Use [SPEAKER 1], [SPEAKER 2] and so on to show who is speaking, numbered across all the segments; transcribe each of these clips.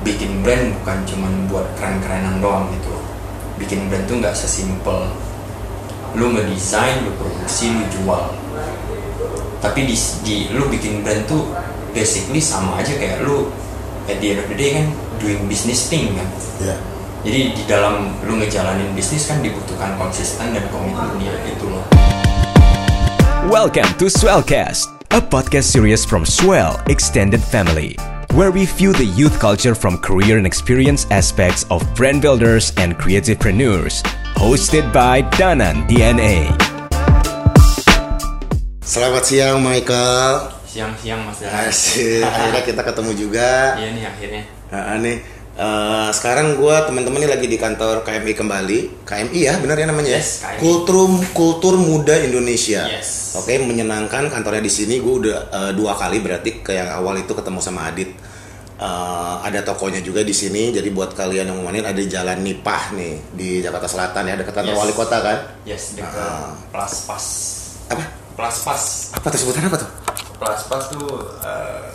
[SPEAKER 1] bikin brand bukan cuman buat keren-kerenan doang gitu bikin brand tuh nggak sesimpel lu ngedesain lu produksi lu jual tapi di, di lu bikin brand tuh basically sama aja kayak lu at the end of the day kan doing business thing kan
[SPEAKER 2] ya
[SPEAKER 1] jadi di dalam lu ngejalanin bisnis kan dibutuhkan konsisten dan komitmennya itu loh
[SPEAKER 3] Welcome to Swellcast, a podcast series from Swell Extended Family, where we view the youth culture from career and experience aspects of brand builders and creativepreneurs. Hosted by Danan DNA.
[SPEAKER 2] selamat siang Michael
[SPEAKER 1] siang-siang mas Dara
[SPEAKER 2] Asik, akhirnya kita ketemu juga
[SPEAKER 1] iya nih akhirnya
[SPEAKER 2] Nah, nih eh, sekarang gue teman-teman ini lagi di kantor KMI kembali KMI ya benar ya namanya ya?
[SPEAKER 1] Yes, KMI.
[SPEAKER 2] kultur kultur muda Indonesia
[SPEAKER 1] Yes.
[SPEAKER 2] oke menyenangkan kantornya di sini gue udah eh, dua kali berarti ke yang awal itu ketemu sama Adit Eh, ada tokonya juga di sini jadi buat kalian yang mau main ada jalan Nipah nih di Jakarta Selatan ya dekat kantor
[SPEAKER 1] Yes.
[SPEAKER 2] wali kota kan
[SPEAKER 1] Yes, dekat
[SPEAKER 2] Ah.
[SPEAKER 1] plus pas.
[SPEAKER 2] apa
[SPEAKER 1] Plus pas.
[SPEAKER 2] apa tuh sebutan apa tuh
[SPEAKER 1] Plus pas tuh eh,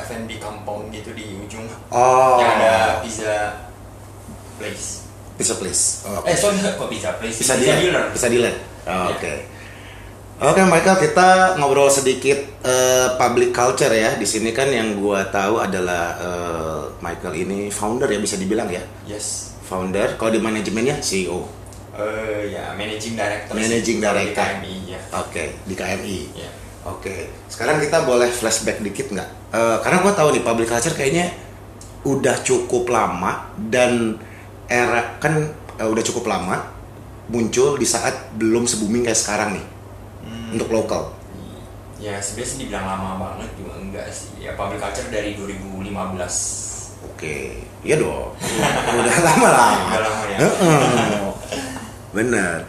[SPEAKER 1] F&B kampung gitu di ujung.
[SPEAKER 2] oh
[SPEAKER 1] Yang ada pizza place.
[SPEAKER 2] pizza place oh, oke.
[SPEAKER 1] Eh, sorry, kok pizza place?
[SPEAKER 2] bisa dealer bisa dealer
[SPEAKER 1] Iya.
[SPEAKER 2] Oh, oke oke Michael kita ngobrol sedikit eh, public culture ya di sini kan yang gua tahu adalah eh, Michael ini founder ya bisa dibilang ya
[SPEAKER 1] Yes.
[SPEAKER 2] founder kalau di manajemennya E CEO oke
[SPEAKER 1] Eh ya, managing director. sih,
[SPEAKER 2] Managing
[SPEAKER 1] kalau
[SPEAKER 2] director.
[SPEAKER 1] Di KMI, ya.
[SPEAKER 2] di KMI
[SPEAKER 1] Ya.
[SPEAKER 2] oke sekarang kita boleh flashback dikit nggak Eh, karena gua tahu nih public culture kayaknya udah cukup lama dan era kan eh, udah cukup lama muncul di saat belum se-booming kayak sekarang nih
[SPEAKER 1] Hmm,
[SPEAKER 2] untuk lokal
[SPEAKER 1] ya sebenarnya sih dibilang lama banget juga enggak sih. Ya public culture dari 2015.
[SPEAKER 2] Oke, iya dong. Udah lama lah.
[SPEAKER 1] Udah lama ya.
[SPEAKER 2] Ah. Heeh. Bener.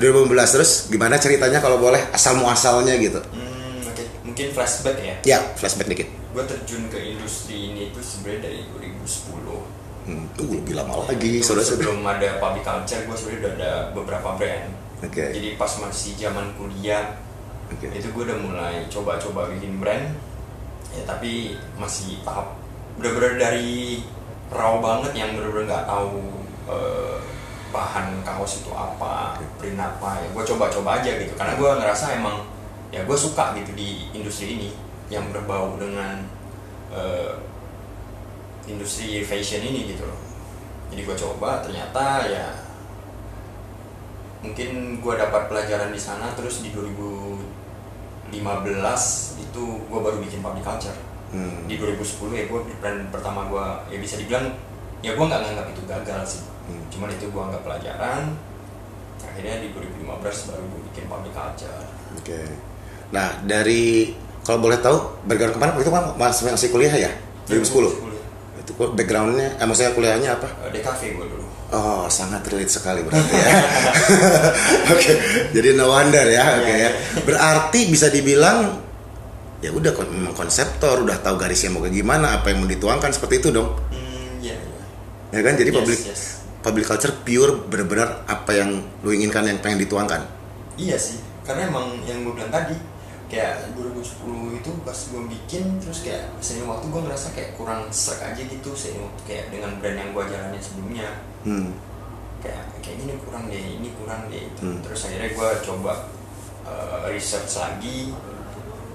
[SPEAKER 2] 2015 terus gimana ceritanya kalau boleh asal muasalnya gitu?
[SPEAKER 1] Hmm, oke. Mungkin flashback ya.
[SPEAKER 2] Ya, flashback dikit.
[SPEAKER 1] Gue terjun ke industri ini itu sebenarnya dari 2010.
[SPEAKER 2] Hmm, tuh lebih lama lagi,
[SPEAKER 1] Itu
[SPEAKER 2] saudara-saudara.
[SPEAKER 1] sebelum ada public culture gue sebenarnya udah ada beberapa brand
[SPEAKER 2] Oke.
[SPEAKER 1] jadi pas masih zaman kuliah
[SPEAKER 2] Oke.
[SPEAKER 1] itu gue udah mulai coba-coba bikin brand ya tapi masih tahap bener-bener dari raw banget yang bener-bener nggak tahu eh, bahan kaos itu apa print apa ya gue coba-coba aja gitu karena gue ngerasa emang ya gue suka gitu di industri ini yang berbau dengan eh, industri fashion ini gitu loh jadi gue coba ternyata ya mungkin gue dapat pelajaran di sana terus di 2015 itu gue baru bikin public culture
[SPEAKER 2] Hmm.
[SPEAKER 1] di 2010 ya gue brand pertama gue ya bisa dibilang ya gue nggak nganggap itu gagal sih
[SPEAKER 2] Hmm.
[SPEAKER 1] cuman itu gue anggap pelajaran akhirnya di 2015 baru gue bikin public culture
[SPEAKER 2] Oke. Nah, dari kalau boleh tahu background kemana? Itu kan masih masih kuliah ya? 2010. Itu kok backgroundnya, eh, maksudnya kuliahnya apa?
[SPEAKER 1] Eh, DKV gue dulu
[SPEAKER 2] Oh, sangat relate sekali berarti ya. Oke, jadi no wonder ya. Oke ya. Berarti bisa dibilang ya udah kon- memang konseptor, udah tahu garisnya mau kayak gimana, apa yang mau dituangkan seperti itu dong.
[SPEAKER 1] hmm, ya, ya.
[SPEAKER 2] Ya kan? Jadi
[SPEAKER 1] Yes,
[SPEAKER 2] public
[SPEAKER 1] yes.
[SPEAKER 2] public culture pure benar-benar apa yang lu inginkan yang pengen dituangkan.
[SPEAKER 1] Iya sih, karena emang yang gue bilang tadi kayak 2010 itu pas gue bikin terus kayak seiring waktu gue ngerasa kayak kurang serk aja gitu seiring waktu kayak dengan brand yang gue jalanin sebelumnya
[SPEAKER 2] Hmm.
[SPEAKER 1] Ya, kayak kayaknya ini kurang deh ini kurang deh gitu.
[SPEAKER 2] Hmm.
[SPEAKER 1] terus akhirnya gue coba eh, research lagi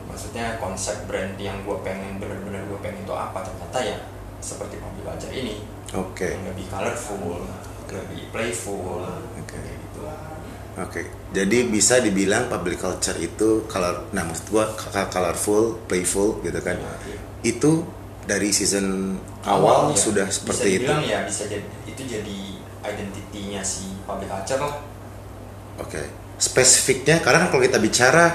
[SPEAKER 1] maksudnya konsep brand yang gue pengen bener-bener gue pengen itu apa ternyata ya seperti mobil aja ini
[SPEAKER 2] Oke.
[SPEAKER 1] yang lebih colorful lebih playful
[SPEAKER 2] Oke.
[SPEAKER 1] kayak gitu
[SPEAKER 2] Oke. Jadi bisa dibilang public culture itu color nah maksud gua k- colorful, playful gitu kan.
[SPEAKER 1] Ya, iya.
[SPEAKER 2] Itu dari season
[SPEAKER 1] ya.
[SPEAKER 2] awal sudah seperti
[SPEAKER 1] bisa
[SPEAKER 2] itu.
[SPEAKER 1] dibilang ya bisa jadi itu jadi identitinya si public culture lah
[SPEAKER 2] Oke. Spesifiknya karena kan kalau kita bicara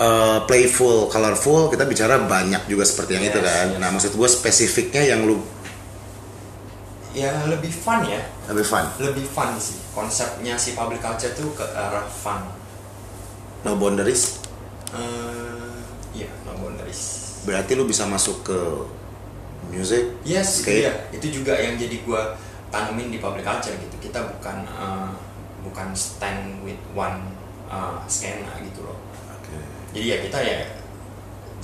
[SPEAKER 2] uh, playful, colorful, kita bicara banyak juga seperti yang itu
[SPEAKER 1] Yes,
[SPEAKER 2] kan.
[SPEAKER 1] yes.
[SPEAKER 2] Nah, maksud gue spesifiknya yang lu
[SPEAKER 1] ya lebih fun ya
[SPEAKER 2] lebih fun,
[SPEAKER 1] lebih fun sih konsepnya si public culture tuh ke arah fun
[SPEAKER 2] no boundaries,
[SPEAKER 1] Eh, iya no boundaries
[SPEAKER 2] berarti lu bisa masuk ke music.
[SPEAKER 1] yes iya. itu
[SPEAKER 2] Oke.
[SPEAKER 1] dia. itu juga yang jadi gua tanemin di public culture gitu kita bukan eh, bukan stand with one eh, skena gitu loh
[SPEAKER 2] Oke.
[SPEAKER 1] jadi ya kita ya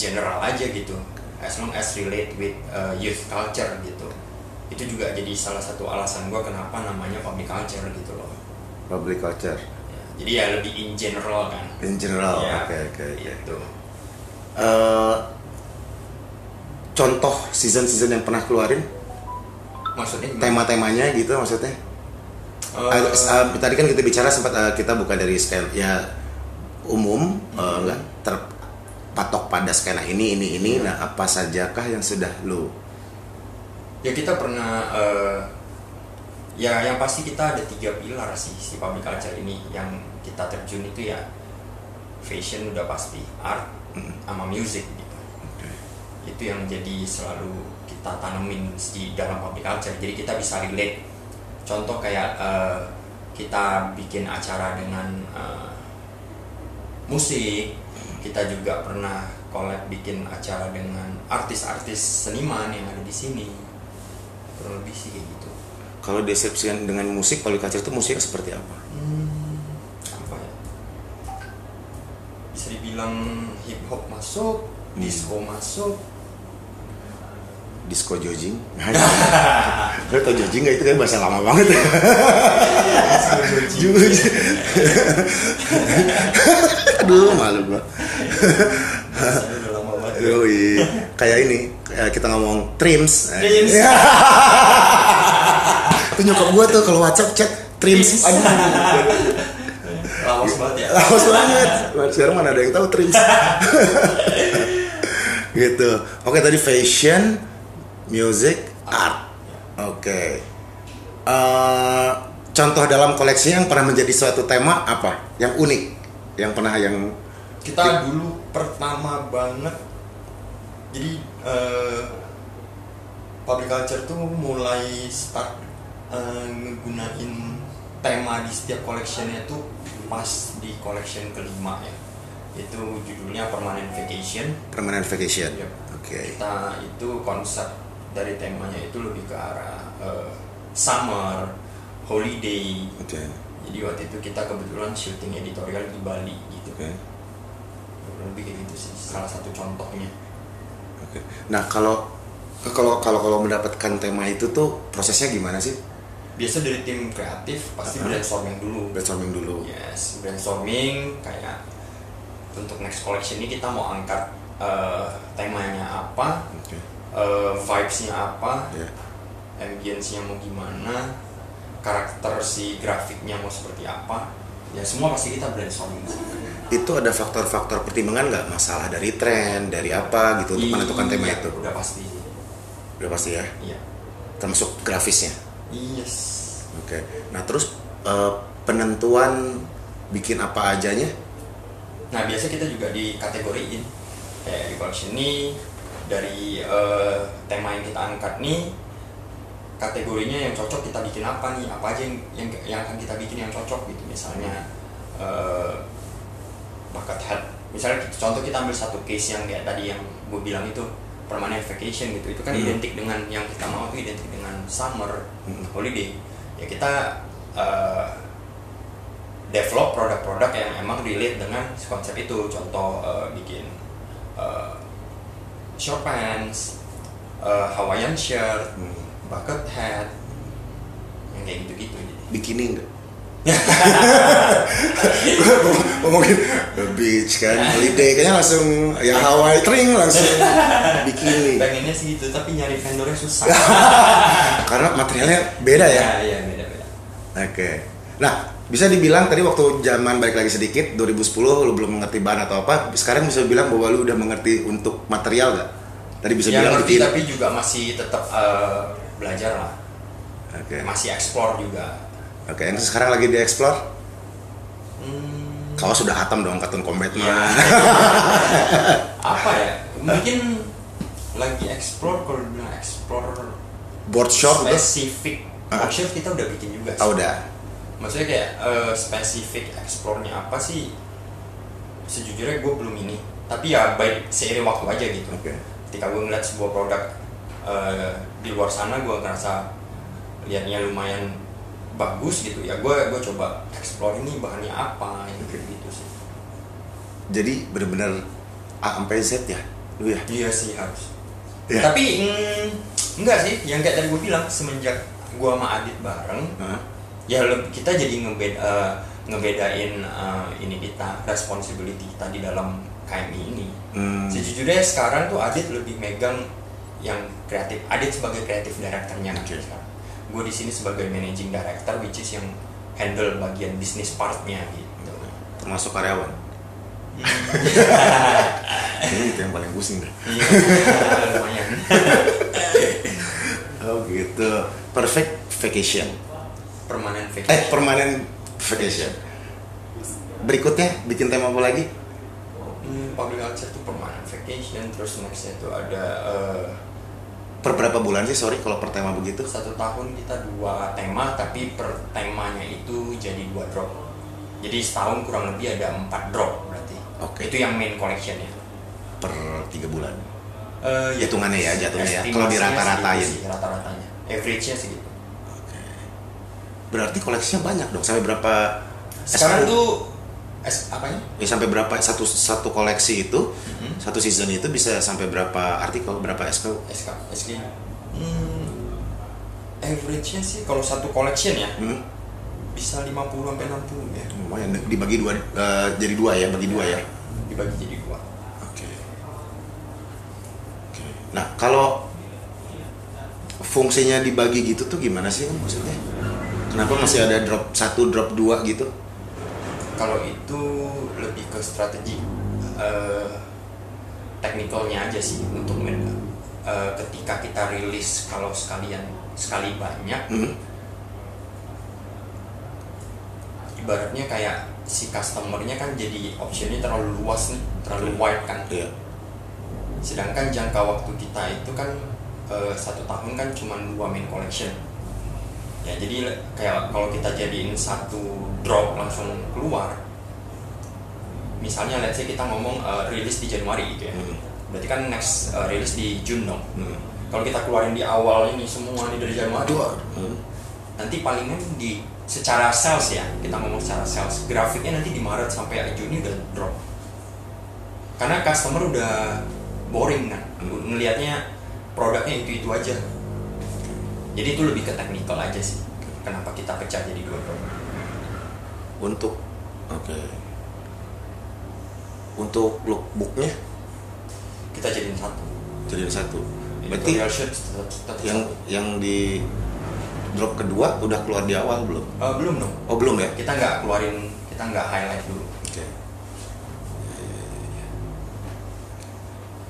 [SPEAKER 1] general aja gitu as long as relate with uh, youth eh, culture gitu itu juga jadi salah satu alasan gue kenapa namanya public culture gitu loh
[SPEAKER 2] public culture
[SPEAKER 1] Ya, jadi ya lebih in general kan
[SPEAKER 2] in general. Oke
[SPEAKER 1] Ya,
[SPEAKER 2] Oh, oke oke.
[SPEAKER 1] gitu.
[SPEAKER 2] Eh, contoh season-season yang pernah keluarin
[SPEAKER 1] maksudnya gimana?
[SPEAKER 2] tema-temanya gitu maksudnya.
[SPEAKER 1] Eh,
[SPEAKER 2] Ah, s- ah, tadi kan kita bicara sempat eh, kita bukan dari skena ya umum eh, enggak terpatok pada skena ini ini ini nah apa sajakah yang sudah lu
[SPEAKER 1] ya kita pernah eh, ya yang pasti kita ada tiga pilar sih si public culture ini yang kita terjun itu ya fashion udah pasti art sama music gitu itu yang jadi selalu kita tanemin di dalam public culture jadi kita bisa relate contoh kayak eh, kita bikin acara dengan eh, musik kita juga pernah collab bikin acara dengan artis-artis seniman yang ada di sini kurang lebih sih kayak gitu
[SPEAKER 2] kalau deskripsikan dengan musik kalau kacer itu musiknya seperti apa
[SPEAKER 1] apa ya bisa dibilang hip hop masuk disco masuk
[SPEAKER 2] disco jojing lu tau jojing nggak itu kan bahasa lama banget Jojing. aduh malu gua
[SPEAKER 1] Rasanya udah lama banget
[SPEAKER 2] Yoi. kayak ini kayak kita ngomong trims
[SPEAKER 1] Trims.
[SPEAKER 2] itu nyokap gue tuh kalau WhatsApp chat
[SPEAKER 1] Trims.
[SPEAKER 2] trims aduh
[SPEAKER 1] Iya, lawas banget ya
[SPEAKER 2] lawas banget sekarang mana ada yang tahu trims gitu oke tadi fashion music art oke Eh, contoh dalam koleksi yang pernah menjadi suatu tema apa yang unik yang pernah yang
[SPEAKER 1] kita dulu pertama banget jadi eh, public culture tuh mulai start eh, ngegunain tema di setiap collectionnya tuh pas di collection kelima ya itu judulnya permanent vacation
[SPEAKER 2] permanent vacation
[SPEAKER 1] Yep.
[SPEAKER 2] oke
[SPEAKER 1] kita itu konsep dari temanya itu lebih ke arah eh, summer holiday
[SPEAKER 2] oke
[SPEAKER 1] jadi waktu itu kita kebetulan syuting editorial di Bali gitu
[SPEAKER 2] oke
[SPEAKER 1] lebih kayak gitu sih salah satu contohnya
[SPEAKER 2] Oke. Nah kalau kalau kalau kalau mendapatkan tema itu tuh prosesnya gimana sih?
[SPEAKER 1] biasa dari tim kreatif pasti
[SPEAKER 2] Uh-huh.
[SPEAKER 1] brainstorming dulu
[SPEAKER 2] Brainstorming dulu.
[SPEAKER 1] yes brainstorming kayak untuk next collection ini kita mau angkat eh, temanya apa
[SPEAKER 2] Oke.
[SPEAKER 1] eh, vibesnya apa
[SPEAKER 2] Ya.
[SPEAKER 1] ambience-nya mau gimana karakter si grafiknya mau seperti apa ya semua pasti kita brainstorming sih.
[SPEAKER 2] Itu ada faktor-faktor pertimbangan nggak masalah dari tren, dari apa gitu untuk menentukan tema
[SPEAKER 1] Iya,
[SPEAKER 2] itu?
[SPEAKER 1] udah pasti
[SPEAKER 2] Udah pasti ya.
[SPEAKER 1] iya
[SPEAKER 2] Termasuk grafisnya.
[SPEAKER 1] yes
[SPEAKER 2] Oke. Nah terus eh, penentuan bikin apa ajanya?
[SPEAKER 1] nah biasa kita juga dikategoriin kayak di collection ini dari eh, tema yang kita angkat nih kategorinya yang cocok kita bikin apa nih apa aja yang yang, yang akan kita bikin yang cocok gitu misalnya eh bucket hat misalnya kita- contoh kita ambil satu case yang kayak tadi yang gue bilang itu permanent vacation gitu itu kan
[SPEAKER 2] Hmm.
[SPEAKER 1] identik dengan yang kita mau itu identik dengan summer holiday ya kita eh, develop produk-produk yang emang relate dengan konsep itu contoh eh, bikin eh, short pants eh, Hawaiian shirt hmm, bucket hat yang kayak gitu-gitu jadi
[SPEAKER 2] Bikini nggak? Ngomongin the beach kan, holiday kayaknya langsung ya Hawaii tring langsung bikini.
[SPEAKER 1] pengennya sih gitu tapi nyari vendornya susah
[SPEAKER 2] karena materialnya beda ya.
[SPEAKER 1] iya beda-beda
[SPEAKER 2] Oke. Nah, bisa dibilang tadi waktu zaman balik lagi sedikit 2010 lu belum mengerti bahan atau apa, sekarang bisa bilang bahwa lu udah mengerti untuk material gak? Tadi bisa
[SPEAKER 1] ya
[SPEAKER 2] bilang gitu.
[SPEAKER 1] ngerti
[SPEAKER 2] bikin.
[SPEAKER 1] tapi juga masih tetap eh, belajar lah
[SPEAKER 2] Oke.
[SPEAKER 1] masih explore juga
[SPEAKER 2] Oke, yang sekarang lagi dieksplor
[SPEAKER 1] hmm,
[SPEAKER 2] kaos sudah hatam dong Cartoon Combat
[SPEAKER 1] ya.
[SPEAKER 2] mah.
[SPEAKER 1] apa ya mungkin lagi explore kalau bilang explore
[SPEAKER 2] Board shop Ah, udah
[SPEAKER 1] spesifik
[SPEAKER 2] Ah.
[SPEAKER 1] Workshop kita udah bikin juga sih.
[SPEAKER 2] tahu dah.
[SPEAKER 1] maksudnya kayak eh, spesifik explore-nya apa sih sejujurnya gue belum ini tapi ya baik seiring waktu aja gitu
[SPEAKER 2] Oke.
[SPEAKER 1] ketika gue ngeliat sebuah produk eh, di luar sana gue ngerasa liatnya lumayan bagus gitu ya gue gue coba explore ini bahannya apa gitu gitu sih
[SPEAKER 2] Jadi bener-bener A sampai Z ya. Lu ya.
[SPEAKER 1] iya sih harus
[SPEAKER 2] Ya.
[SPEAKER 1] tapi mm, Enggak sih, yang kayak tadi gue bilang semenjak gue sama Adit bareng,
[SPEAKER 2] Hah?
[SPEAKER 1] ya leb- kita jadi ngebeda eh, ngebedain eh, ini kita responsibility kita di dalam KMI ini.
[SPEAKER 2] Hmm.
[SPEAKER 1] Sejujurnya sekarang tuh Adit lebih megang yang kreatif. Adit sebagai kreatif directornya kan sekarang. Gue di sini sebagai managing director, which is yang handle bagian bisnis partnya gitu.
[SPEAKER 2] termasuk karyawan ini itu yang paling pusing deh
[SPEAKER 1] Iya, lumayan.
[SPEAKER 2] oh gitu perfect vacation
[SPEAKER 1] Permanent vacation.
[SPEAKER 2] eh permanent vacation berikutnya bikin tema apa lagi
[SPEAKER 1] Hmm, public culture tuh permanent vacation terus nextnya tuh ada eh,
[SPEAKER 2] per berapa bulan sih sorry kalau per tema begitu
[SPEAKER 1] satu tahun kita dua tema tapi per temanya itu jadi dua drop jadi setahun kurang lebih ada empat drop berarti
[SPEAKER 2] Oke.
[SPEAKER 1] itu yang main collectionnya
[SPEAKER 2] per tiga bulan
[SPEAKER 1] Eh, ya.
[SPEAKER 2] Hitungannya ya, jatuhnya ya.
[SPEAKER 1] Estimasinya
[SPEAKER 2] Kalau dirata-ratain.
[SPEAKER 1] segitu sih, rata-ratanya average-nya gitu. segitu
[SPEAKER 2] berarti koleksinya banyak dong sampai berapa
[SPEAKER 1] sekarang
[SPEAKER 2] SKU?
[SPEAKER 1] tuh es apanya
[SPEAKER 2] Ya, sampai berapa satu satu koleksi itu
[SPEAKER 1] Mm-hmm.
[SPEAKER 2] satu season itu bisa sampai berapa artikel berapa SKU
[SPEAKER 1] SK SK hmm, average-nya sih kalau satu collection ya
[SPEAKER 2] Hmm,
[SPEAKER 1] bisa 50 sampai 60 ya
[SPEAKER 2] lumayan dibagi dua eh, jadi dua ya bagi dua ya
[SPEAKER 1] dibagi jadi dua
[SPEAKER 2] Oke. Oke. Nah, kalau fungsinya dibagi gitu tuh gimana sih Om, maksudnya? Kenapa masih ada drop satu, drop dua gitu?
[SPEAKER 1] kalau itu lebih ke strategi eh teknikalnya aja sih untuk men- eh, ketika kita rilis kalau sekalian sekali banyak
[SPEAKER 2] Hmm.
[SPEAKER 1] ibaratnya kayak si customernya kan jadi optionnya terlalu luas nih terlalu wide kan
[SPEAKER 2] Iya.
[SPEAKER 1] sedangkan jangka waktu kita itu kan eh, satu tahun kan cuma dua main collection ya jadi le- kayak kalau kita jadiin satu drop langsung keluar misalnya let's say kita ngomong eh, rilis di Januari gitu ya
[SPEAKER 2] Hmm.
[SPEAKER 1] berarti kan next eh, rilis di June dong
[SPEAKER 2] Hmm.
[SPEAKER 1] kalau kita keluarin di awal ini semua ini dari Januari
[SPEAKER 2] Dua. Hmm.
[SPEAKER 1] nanti palingan di secara sales ya kita ngomong secara sales grafiknya nanti di Maret sampai Juni udah drop karena customer udah boring kan ngelihatnya produknya itu itu aja jadi itu lebih ke technical aja sih kenapa kita pecah jadi dua drop
[SPEAKER 2] Untuk oke. Untuk lookbooknya
[SPEAKER 1] kita jadiin satu
[SPEAKER 2] jadi satu. Berarti
[SPEAKER 1] editorial shoot tetap, tetap
[SPEAKER 2] yang
[SPEAKER 1] satu.
[SPEAKER 2] yang di drop kedua udah keluar di awal belum?
[SPEAKER 1] Eh, belum dong
[SPEAKER 2] Oh belum ya?
[SPEAKER 1] kita nggak keluarin kita nggak highlight dulu
[SPEAKER 2] Oke. Ya, ya, ya, ya.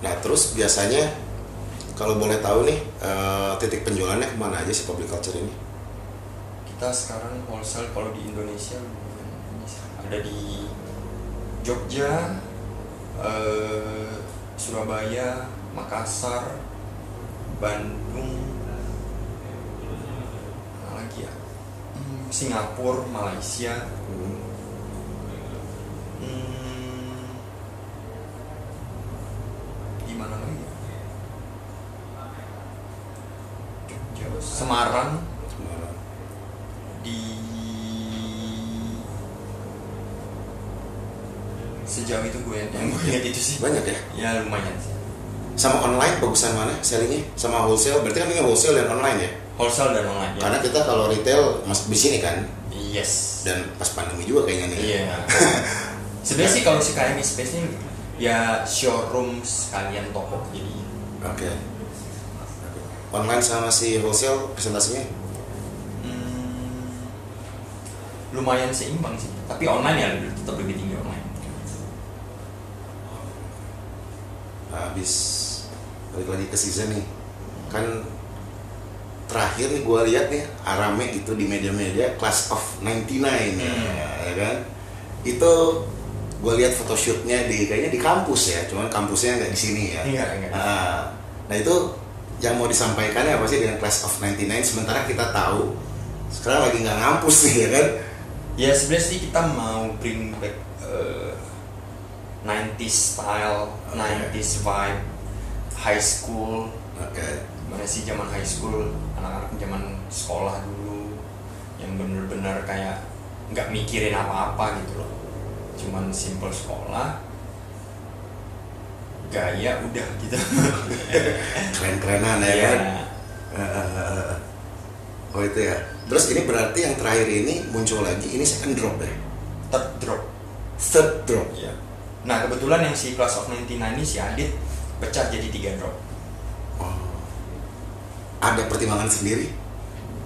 [SPEAKER 2] Nah terus biasanya kalau boleh tahu nih eh, titik penjualannya kemana aja sih public culture ini?
[SPEAKER 1] kita sekarang wholesale kalau di Indonesia ada di Jogja, eh, Surabaya, Makassar, Bandung, mana lagi ya? Hmm, Singapura, Malaysia. Hmm, di mana lagi? ya? Jogja, Semarang,
[SPEAKER 2] Kemana?
[SPEAKER 1] di sejauh itu gue yang gue lihat itu sih
[SPEAKER 2] Banyak ya.
[SPEAKER 1] ya lumayan sih
[SPEAKER 2] Sama online bagusan mana sellingnya? Sama wholesale berarti kan ini wholesale dan online ya?
[SPEAKER 1] wholesale dan online ya
[SPEAKER 2] Karena kita kalau retail masuk di sini kan
[SPEAKER 1] yes
[SPEAKER 2] dan pas pandemi juga kayaknya nih. ya?
[SPEAKER 1] iya sebenarnya sih kalau si KMI space ini ya showroom sekalian toko jadi
[SPEAKER 2] Oke. Oke. Online sama si wholesale presentasinya?
[SPEAKER 1] hmm, lumayan seimbang sih tapi online ya lebih- tetap lebih tinggi online
[SPEAKER 2] habis balik lagi ke season nih kan terakhir nih gue lihat nih Arame itu di media-media class of 99 ya, ya kan itu gue lihat photoshootnya di kayaknya di kampus ya cuman kampusnya nggak di sini ya
[SPEAKER 1] Iya, iya.
[SPEAKER 2] Ah, nah itu yang mau disampaikan ya apa sih dengan class of 99 sementara kita tahu sekarang lagi nggak ngampus nih ya kan
[SPEAKER 1] ya sebenarnya sih kita mau bring back eh, 90s style,
[SPEAKER 2] Oke.
[SPEAKER 1] 90s vibe, high school.
[SPEAKER 2] oke
[SPEAKER 1] Gimana sih zaman high school, anak-anak zaman sekolah dulu yang bener-bener kayak nggak mikirin apa-apa gitu loh. Cuman simple sekolah, gaya udah gitu.
[SPEAKER 2] keren-kerenan ya kan
[SPEAKER 1] ya
[SPEAKER 2] Eh, oh itu ya. Terus ini berarti yang terakhir ini muncul lagi ini second drop ya.
[SPEAKER 1] third drop
[SPEAKER 2] Third drop.
[SPEAKER 1] Iya. Nah kebetulan yang si Class of 99 ini si Adit pecah jadi tiga drop.
[SPEAKER 2] Ada pertimbangan sendiri.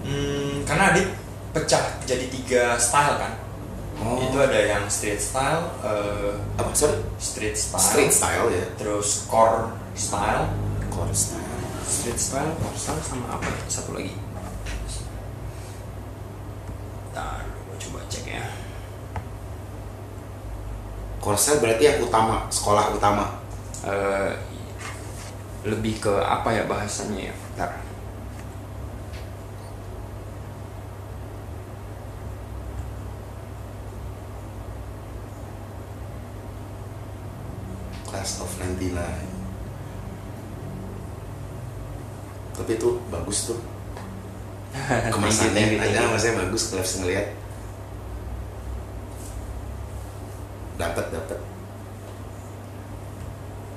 [SPEAKER 1] Hmm, karena Adit pecah jadi tiga style kan.
[SPEAKER 2] Oh.
[SPEAKER 1] Itu ada yang street style, eh,
[SPEAKER 2] Apa sorry?
[SPEAKER 1] street style,
[SPEAKER 2] Street style ya.
[SPEAKER 1] terus core style,
[SPEAKER 2] Core style.
[SPEAKER 1] street style, core style sama apa? ya? Satu lagi. Ntar gua coba cek ya.
[SPEAKER 2] Core style berarti yang utama sekolah utama.
[SPEAKER 1] Eh, lebih ke apa ya bahasanya ya? Ntar.
[SPEAKER 2] Class of 99 tapi itu bagus tuh kemasannya
[SPEAKER 1] Thank you, thank you,
[SPEAKER 2] aja
[SPEAKER 1] thank you.
[SPEAKER 2] masanya bagus kalau bisa ngeliat dapat dapat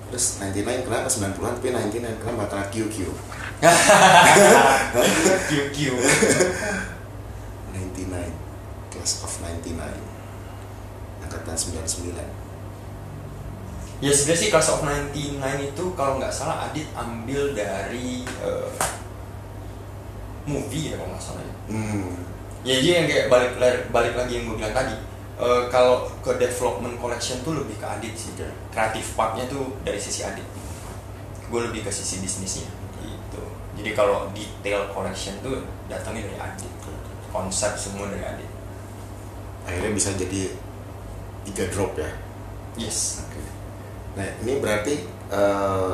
[SPEAKER 2] terus 99 kenapa 90-an tapi 99 kenapa karena QQ
[SPEAKER 1] Kiu kiu.
[SPEAKER 2] 99 class of 99 angkatan 99
[SPEAKER 1] Ya sebenarnya sih Class of 99 itu kalau nggak salah Adit ambil dari eh, movie ya kalau nggak salah ya.
[SPEAKER 2] hmm
[SPEAKER 1] Ya jadi yang kayak balik balik lagi yang gue bilang tadi. eh, kalau ke development collection tuh lebih ke Adit sih. Kreatif partnya tuh dari sisi Adit. Gue lebih ke sisi bisnisnya gitu. Jadi kalau detail collection tuh datangnya dari Adit. Konsep semua dari Adit.
[SPEAKER 2] akhirnya bisa jadi tiga drop ya
[SPEAKER 1] Yes.
[SPEAKER 2] Oke. Nah, ini berarti eh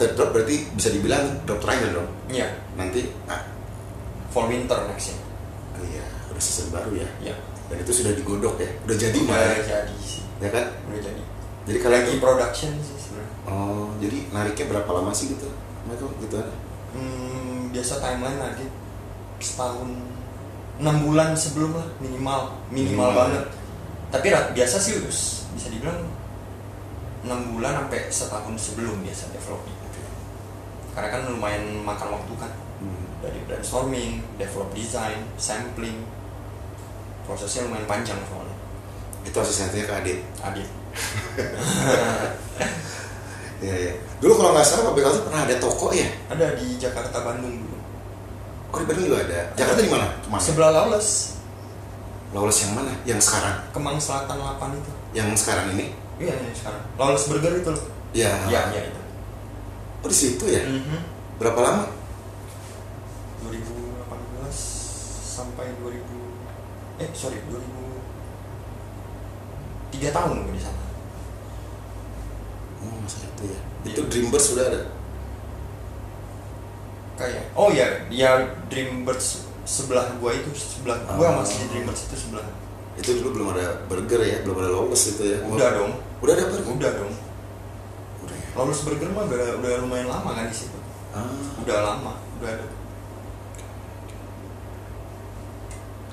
[SPEAKER 2] third drop berarti bisa dibilang drop terakhir dong.
[SPEAKER 1] Iya.
[SPEAKER 2] Nanti ah
[SPEAKER 1] For winter next year.
[SPEAKER 2] oh iya, udah season baru ya.
[SPEAKER 1] Iya.
[SPEAKER 2] Dan itu sudah digodok ya. Udah jadi
[SPEAKER 1] Udah
[SPEAKER 2] malah.
[SPEAKER 1] jadi sih.
[SPEAKER 2] Ya kan?
[SPEAKER 1] Udah jadi.
[SPEAKER 2] Jadi kalian
[SPEAKER 1] Lagi production sih sebenarnya.
[SPEAKER 2] oh, jadi nariknya berapa lama sih gitu? Mereka gitu ada.
[SPEAKER 1] Hmm, biasa timeline lagi setahun enam bulan sebelum lah minimal minimal
[SPEAKER 2] Minimal.
[SPEAKER 1] banget tapi rat- biasa sih us- bisa dibilang enam bulan sampai setahun sebelum biasa developnya karena kan lumayan makan waktu kan
[SPEAKER 2] Hmm.
[SPEAKER 1] dari brainstorming develop design sampling prosesnya lumayan panjang soalnya
[SPEAKER 2] Itu asistennya Kak Adit.
[SPEAKER 1] adit
[SPEAKER 2] Iya, iya. Dulu kalau nggak salah Pabrik Alta pernah ada toko ya?
[SPEAKER 1] ada di Jakarta Bandung dulu
[SPEAKER 2] Oh, di Bandung juga ada. Jakarta di mana? Kemana?
[SPEAKER 1] sebelah Lawless
[SPEAKER 2] Lawless yang mana? Yang sekarang?
[SPEAKER 1] Kemang Selatan 8 itu
[SPEAKER 2] Yang sekarang ini?
[SPEAKER 1] iya yang sekarang Lawless Burger itu loh
[SPEAKER 2] Ya.
[SPEAKER 1] iya iya itu
[SPEAKER 2] Oh, di situ ya?
[SPEAKER 1] Mhm.
[SPEAKER 2] Berapa lama?
[SPEAKER 1] 2018 sampai 2000 eh sorry 2000 tiga tahun gue di sana
[SPEAKER 2] Oh, masa itu ya.
[SPEAKER 1] Iya.
[SPEAKER 2] Itu Dreambirds sudah ada.
[SPEAKER 1] kayak oh ya ya Dreambirds sebelah gua itu sebelah gua
[SPEAKER 2] Ah.
[SPEAKER 1] masih di Dreambirds itu sebelah
[SPEAKER 2] Itu dulu belum ada burger ya, belum ada lawless itu ya.
[SPEAKER 1] udah dong
[SPEAKER 2] Udah ada burger.
[SPEAKER 1] udah dong
[SPEAKER 2] Udah ya.
[SPEAKER 1] Lawless Burger mah udah, udah lumayan lama kan di situ
[SPEAKER 2] Ah.
[SPEAKER 1] udah lama udah ada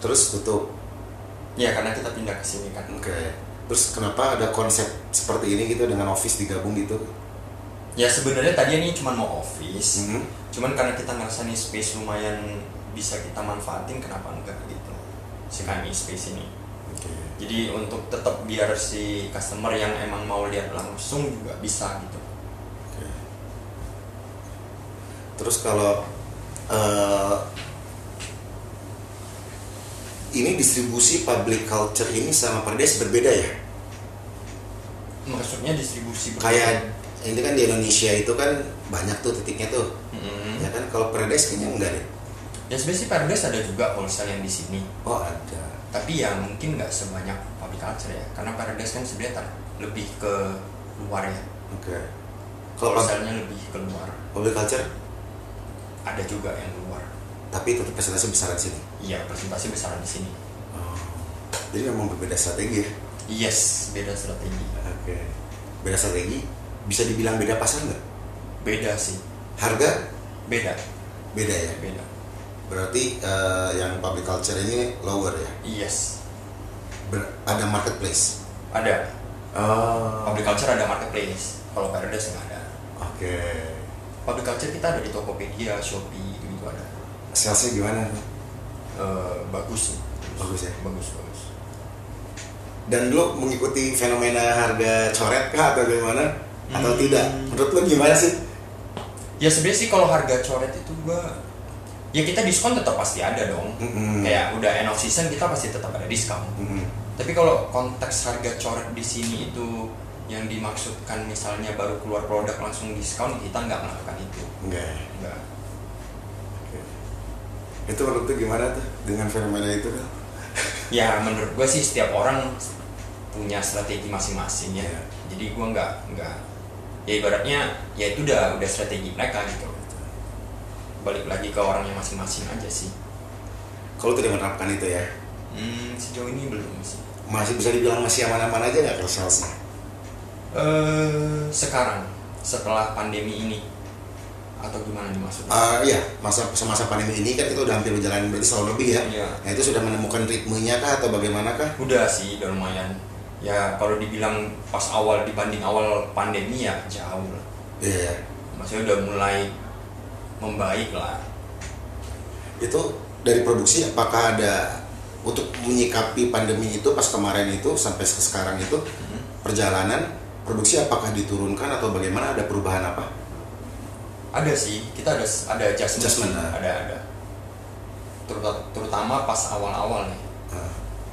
[SPEAKER 2] Terus tutup.
[SPEAKER 1] ya karena kita pindah ke sini kan
[SPEAKER 2] Oke. Terus kenapa ada konsep seperti ini gitu dengan office digabung gitu?
[SPEAKER 1] ya sebenarnya tadinya ini cuma mau office
[SPEAKER 2] Mhm.
[SPEAKER 1] cuman karena kita ngerasa nih space lumayan bisa kita manfaatin kenapa enggak gitu si kami space ini
[SPEAKER 2] Oke.
[SPEAKER 1] jadi untuk tetap biar si customer yang emang mau lihat langsung juga bisa gitu
[SPEAKER 2] Oke. Terus kalau eh, ini distribusi public culture ini sama Pardes berbeda ya?
[SPEAKER 1] maksudnya distribusi ber-
[SPEAKER 2] Hmm. Kayak ini kan di Indonesia itu kan banyak tuh titiknya tuh.
[SPEAKER 1] Mm-mm.
[SPEAKER 2] Ya kan kalau Pardes kayaknya enggak deh.
[SPEAKER 1] ya Hmm. sebenarnya sih Paradise ada juga wholesale yang di sini
[SPEAKER 2] Oh ada.
[SPEAKER 1] tapi ya mungkin nggak sebanyak public culture ya karena Paradise kan sebenarnya tar- lebih ke luar ya
[SPEAKER 2] Oke. Kalau pub-
[SPEAKER 1] wholesale-nya lebih keluar
[SPEAKER 2] public culture,
[SPEAKER 1] ada juga yang luar
[SPEAKER 2] tapi tetap presentasi besar di sini.
[SPEAKER 1] iya presentasi besar di sini
[SPEAKER 2] Jadi memang berbeda strategi ya.
[SPEAKER 1] yes beda strategi
[SPEAKER 2] Oke. Beda strategi, bisa dibilang beda pasar nggak?
[SPEAKER 1] beda sih
[SPEAKER 2] Harga
[SPEAKER 1] beda
[SPEAKER 2] beda ya.
[SPEAKER 1] beda
[SPEAKER 2] Berarti eh, yang public culture ini lower ya.
[SPEAKER 1] yes
[SPEAKER 2] Ber- ada marketplace.
[SPEAKER 1] ada
[SPEAKER 2] Oh.
[SPEAKER 1] public culture ada marketplace kalau Paradise nggak ada
[SPEAKER 2] Oke.
[SPEAKER 1] public culture kita ada di Tokopedia, Shopee, gitu juga ada
[SPEAKER 2] salesnya gimana
[SPEAKER 1] Eh, bagus sih
[SPEAKER 2] Bagus ya?
[SPEAKER 1] bagus bagus
[SPEAKER 2] dan lo mengikuti fenomena harga coret kah atau gimana atau
[SPEAKER 1] Hmm.
[SPEAKER 2] tidak menurut lo gimana sih
[SPEAKER 1] ya sebenarnya sih kalau harga coret itu gua ya kita diskon tetap pasti ada dong
[SPEAKER 2] Mm-mm.
[SPEAKER 1] kayak udah end of season kita pasti tetap ada diskon
[SPEAKER 2] Mm-mm.
[SPEAKER 1] tapi kalau konteks harga coret di sini itu yang dimaksudkan misalnya baru keluar produk langsung diskon kita nggak melakukan itu
[SPEAKER 2] enggak ya?
[SPEAKER 1] nggak
[SPEAKER 2] itu menurut lo gimana tuh dengan fenomena itu kan
[SPEAKER 1] ya menurut gue sih setiap orang punya strategi masing-masing ya
[SPEAKER 2] Iya.
[SPEAKER 1] jadi gue nggak nggak ya ibaratnya ya itu udah udah strategi mereka gitu balik lagi ke orangnya masing-masing aja sih
[SPEAKER 2] kalau tidak menerapkan itu ya
[SPEAKER 1] hmm, sejauh ini belum sih
[SPEAKER 2] masih bisa dibilang masih aman-aman aja ya, nggak kalau salesnya
[SPEAKER 1] eh sekarang setelah pandemi ini atau gimana nih maksudnya
[SPEAKER 2] Ah, iya masa semasa pandemi ini kan kita udah hampir berjalan berarti setahun lebih ya
[SPEAKER 1] Iya.
[SPEAKER 2] nah itu sudah menemukan ritmenya kah atau bagaimana kah
[SPEAKER 1] udah sih udah lumayan ya kalau dibilang pas awal dibanding awal pandemi ya jauh lah
[SPEAKER 2] iya
[SPEAKER 1] maksudnya udah mulai membaik lah
[SPEAKER 2] itu dari produksi apakah ada untuk menyikapi pandemi itu pas kemarin itu sampai se- sekarang itu
[SPEAKER 1] Mhm.
[SPEAKER 2] perjalanan produksi apakah diturunkan atau bagaimana ada perubahan apa
[SPEAKER 1] ada sih kita ada ada adjustment,
[SPEAKER 2] Adjustment,
[SPEAKER 1] sih.
[SPEAKER 2] ah.
[SPEAKER 1] ada ada Teruta- terutama pas awal-awal nih
[SPEAKER 2] Ah,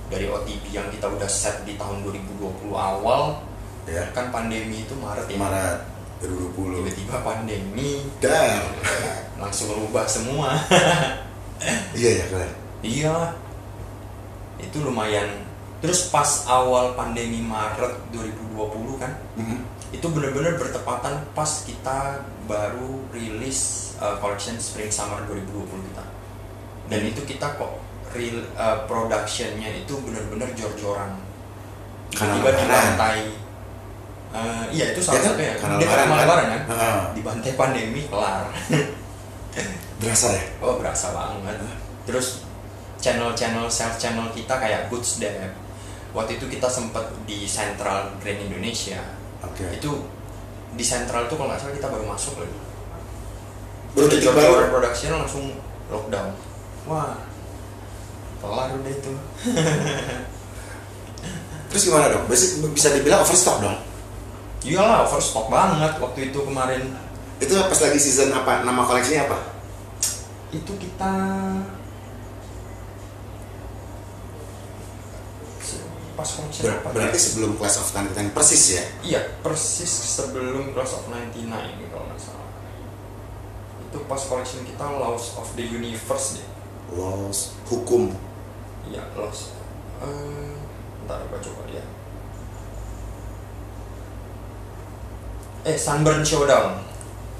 [SPEAKER 1] dari OTB yang kita udah set di tahun 2020 awal
[SPEAKER 2] ya
[SPEAKER 1] kan pandemi itu Maret ya
[SPEAKER 2] Maret 2020
[SPEAKER 1] tiba-tiba pandemi
[SPEAKER 2] dan
[SPEAKER 1] langsung rubah semua
[SPEAKER 2] iya ya kalian
[SPEAKER 1] iya itu lumayan terus pas awal pandemi Maret 2020 kan
[SPEAKER 2] Mhm.
[SPEAKER 1] itu bener-bener bertepatan pas kita baru rilis uh, collection spring summer 2020 kita dan itu kita kok real uh, productionnya itu bener-bener jor-joran
[SPEAKER 2] Karena
[SPEAKER 1] tiba-tiba
[SPEAKER 2] lebaran.
[SPEAKER 1] dibantai uh, iya itu salah
[SPEAKER 2] Ya kan?
[SPEAKER 1] satunya
[SPEAKER 2] Karena
[SPEAKER 1] Dia
[SPEAKER 2] lebaran
[SPEAKER 1] karena
[SPEAKER 2] kan?
[SPEAKER 1] lebaran kan
[SPEAKER 2] Heeh.
[SPEAKER 1] dibantai pandemi kelar
[SPEAKER 2] berasa ya
[SPEAKER 1] oh berasa banget terus channel-channel sales channel kita kayak goods Dep. waktu itu kita sempet di Central Grand Indonesia
[SPEAKER 2] oke
[SPEAKER 1] itu di sentral tuh kalau nggak salah kita baru masuk lagi
[SPEAKER 2] Baru ya?
[SPEAKER 1] Udah
[SPEAKER 2] titik
[SPEAKER 1] jam
[SPEAKER 2] baru.
[SPEAKER 1] jam production langsung lockdown wah kelar udah itu
[SPEAKER 2] terus gimana dong Basic- bisa dibilang overstock dong
[SPEAKER 1] iyalah overstock banget waktu itu kemarin
[SPEAKER 2] itu pas lagi season apa nama koleksinya apa
[SPEAKER 1] itu kita Se- pas konser
[SPEAKER 2] Ber-
[SPEAKER 1] apa
[SPEAKER 2] berarti
[SPEAKER 1] ya?
[SPEAKER 2] sebelum class of 99 persis ya
[SPEAKER 1] iya persis sebelum Class of 99 kalau nggak salah itu pas collection kita Laws of the Universe deh
[SPEAKER 2] laws hukum
[SPEAKER 1] Iya, los. Eh, ntar gue coba lihat. Eh, Sunburn Showdown.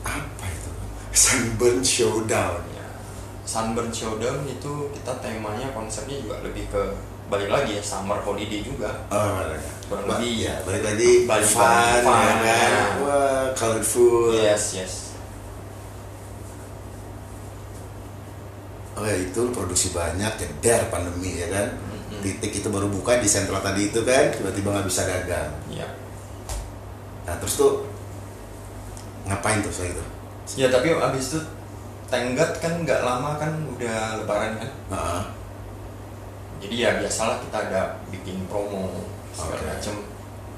[SPEAKER 2] apa itu sunburn showdown
[SPEAKER 1] Ya. Sunburn Showdown itu kita temanya konsepnya juga lebih ke balik lagi ya summer holiday juga.
[SPEAKER 2] Oh, balik
[SPEAKER 1] Balik
[SPEAKER 2] lagi
[SPEAKER 1] lagi.
[SPEAKER 2] ya, balik lagi
[SPEAKER 1] Balik
[SPEAKER 2] fun, Iya.
[SPEAKER 1] lagi, fun,
[SPEAKER 2] ya kan?
[SPEAKER 1] ya.
[SPEAKER 2] Wah, colorful.
[SPEAKER 1] Yes, yes.
[SPEAKER 2] Oke, Oh, ya, itu produksi banyak, ceder pandemi ya kan. Titik itu baru buka di sentral tadi itu kan, tiba-tiba nggak bisa dagang.
[SPEAKER 1] Iya.
[SPEAKER 2] Nah, terus tuh ngapain tuh saya itu?
[SPEAKER 1] Ya tapi abis itu tenggat kan nggak lama kan udah lebaran kan.
[SPEAKER 2] Heeh.
[SPEAKER 1] Jadi ya biasalah kita ada bikin promo segala
[SPEAKER 2] Oke.
[SPEAKER 1] macem.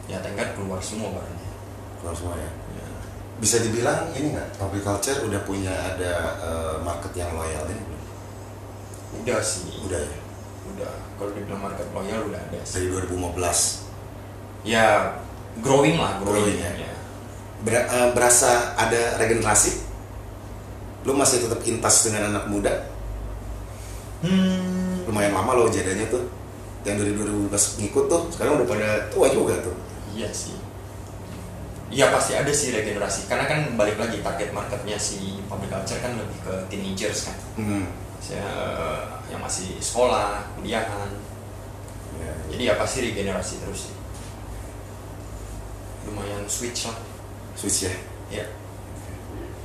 [SPEAKER 1] Ya tenggat keluar semua barangnya.
[SPEAKER 2] keluar semua ya.
[SPEAKER 1] Ya.
[SPEAKER 2] Bisa dibilang ini nggak, public culture udah punya ada eh, market yang loyal ini belum?
[SPEAKER 1] Udah sih.
[SPEAKER 2] Udah ya,
[SPEAKER 1] udah kalau dibilang market loyal udah ada sih
[SPEAKER 2] dari 2015.
[SPEAKER 1] ya growing lah growing,
[SPEAKER 2] Growing, ya.
[SPEAKER 1] ya.
[SPEAKER 2] Ber- eh, berasa ada regenerasi? Lu masih tetap intas dengan anak muda?
[SPEAKER 1] hmm
[SPEAKER 2] Lumayan lama lo jadinya tuh. Yang dari 2015 ngikut tuh, sekarang udah pada tua juga tuh.
[SPEAKER 1] iya sih Iya pasti ada sih regenerasi karena kan balik lagi target marketnya si public culture kan lebih ke teenagers kan
[SPEAKER 2] Hmm.
[SPEAKER 1] saya eh, yang masih sekolah kuliahan
[SPEAKER 2] Ya, ya.
[SPEAKER 1] jadi ya pasti regenerasi terus sih lumayan switch lah
[SPEAKER 2] Switch ya.
[SPEAKER 1] ya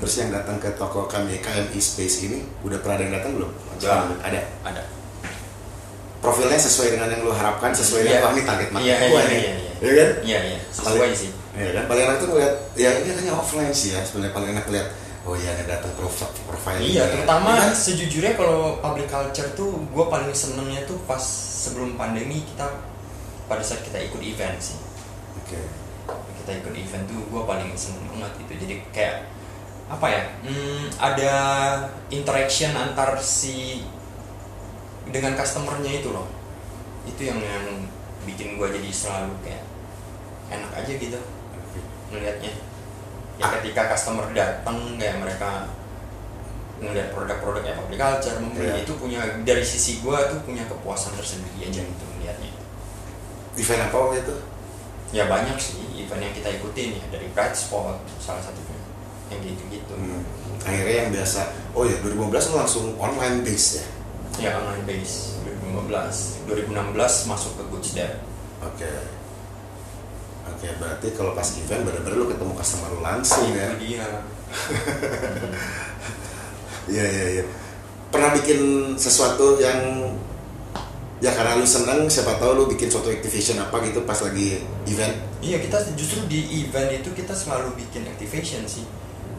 [SPEAKER 2] Terus yang datang ke toko kami KMI Space ini udah pernah ada yang datang belum?
[SPEAKER 1] Udah.
[SPEAKER 2] ada.
[SPEAKER 1] ada
[SPEAKER 2] Profilnya sesuai dengan yang lu harapkan, sesuai dengan
[SPEAKER 1] Iya.
[SPEAKER 2] wah ini target market
[SPEAKER 1] Iya,
[SPEAKER 2] gua
[SPEAKER 1] iya,
[SPEAKER 2] nih.
[SPEAKER 1] iya, iya.
[SPEAKER 2] Ya kan?
[SPEAKER 1] iya iya sesuai sih
[SPEAKER 2] Iya kan? Paling enak tuh ngeliat, ya ini hanya offline sih ya sebenarnya paling enak ngeliat oh iya ada datang profile profile
[SPEAKER 1] Iya, terutama
[SPEAKER 2] Iya.
[SPEAKER 1] sejujurnya kalau public culture tuh gue paling senengnya tuh pas sebelum pandemi kita pada saat kita ikut event sih.
[SPEAKER 2] oke
[SPEAKER 1] Kita ikut event tuh gue paling seneng banget itu. Jadi kayak apa ya? hmm, ada interaction antar si dengan customernya itu loh. Itu yang yang bikin gue jadi selalu kayak enak aja gitu
[SPEAKER 2] oke
[SPEAKER 1] melihatnya ya ketika customer datang kayak mereka ngeliat produk-produk yang public culture membeli
[SPEAKER 2] Iya.
[SPEAKER 1] itu punya dari sisi gua tuh punya kepuasan tersendiri aja gitu melihatnya
[SPEAKER 2] event apa waktu itu
[SPEAKER 1] ya banyak sih event yang kita ikutin ya dari bright spot salah satunya yang gitu gitu
[SPEAKER 2] Hmm, akhirnya yang biasa oh ya 2015 lu langsung online base ya
[SPEAKER 1] ya online base 2015 2016 masuk ke Good Step
[SPEAKER 2] oke oke berarti kalau pas event bener-bener lu ketemu customer lu langsung ya
[SPEAKER 1] itu dia
[SPEAKER 2] Iya iya iya. Pernah bikin sesuatu yang ya karena lu seneng, siapa tahu lu bikin suatu activation apa gitu pas lagi event.
[SPEAKER 1] Iya kita justru di event itu kita selalu bikin activation sih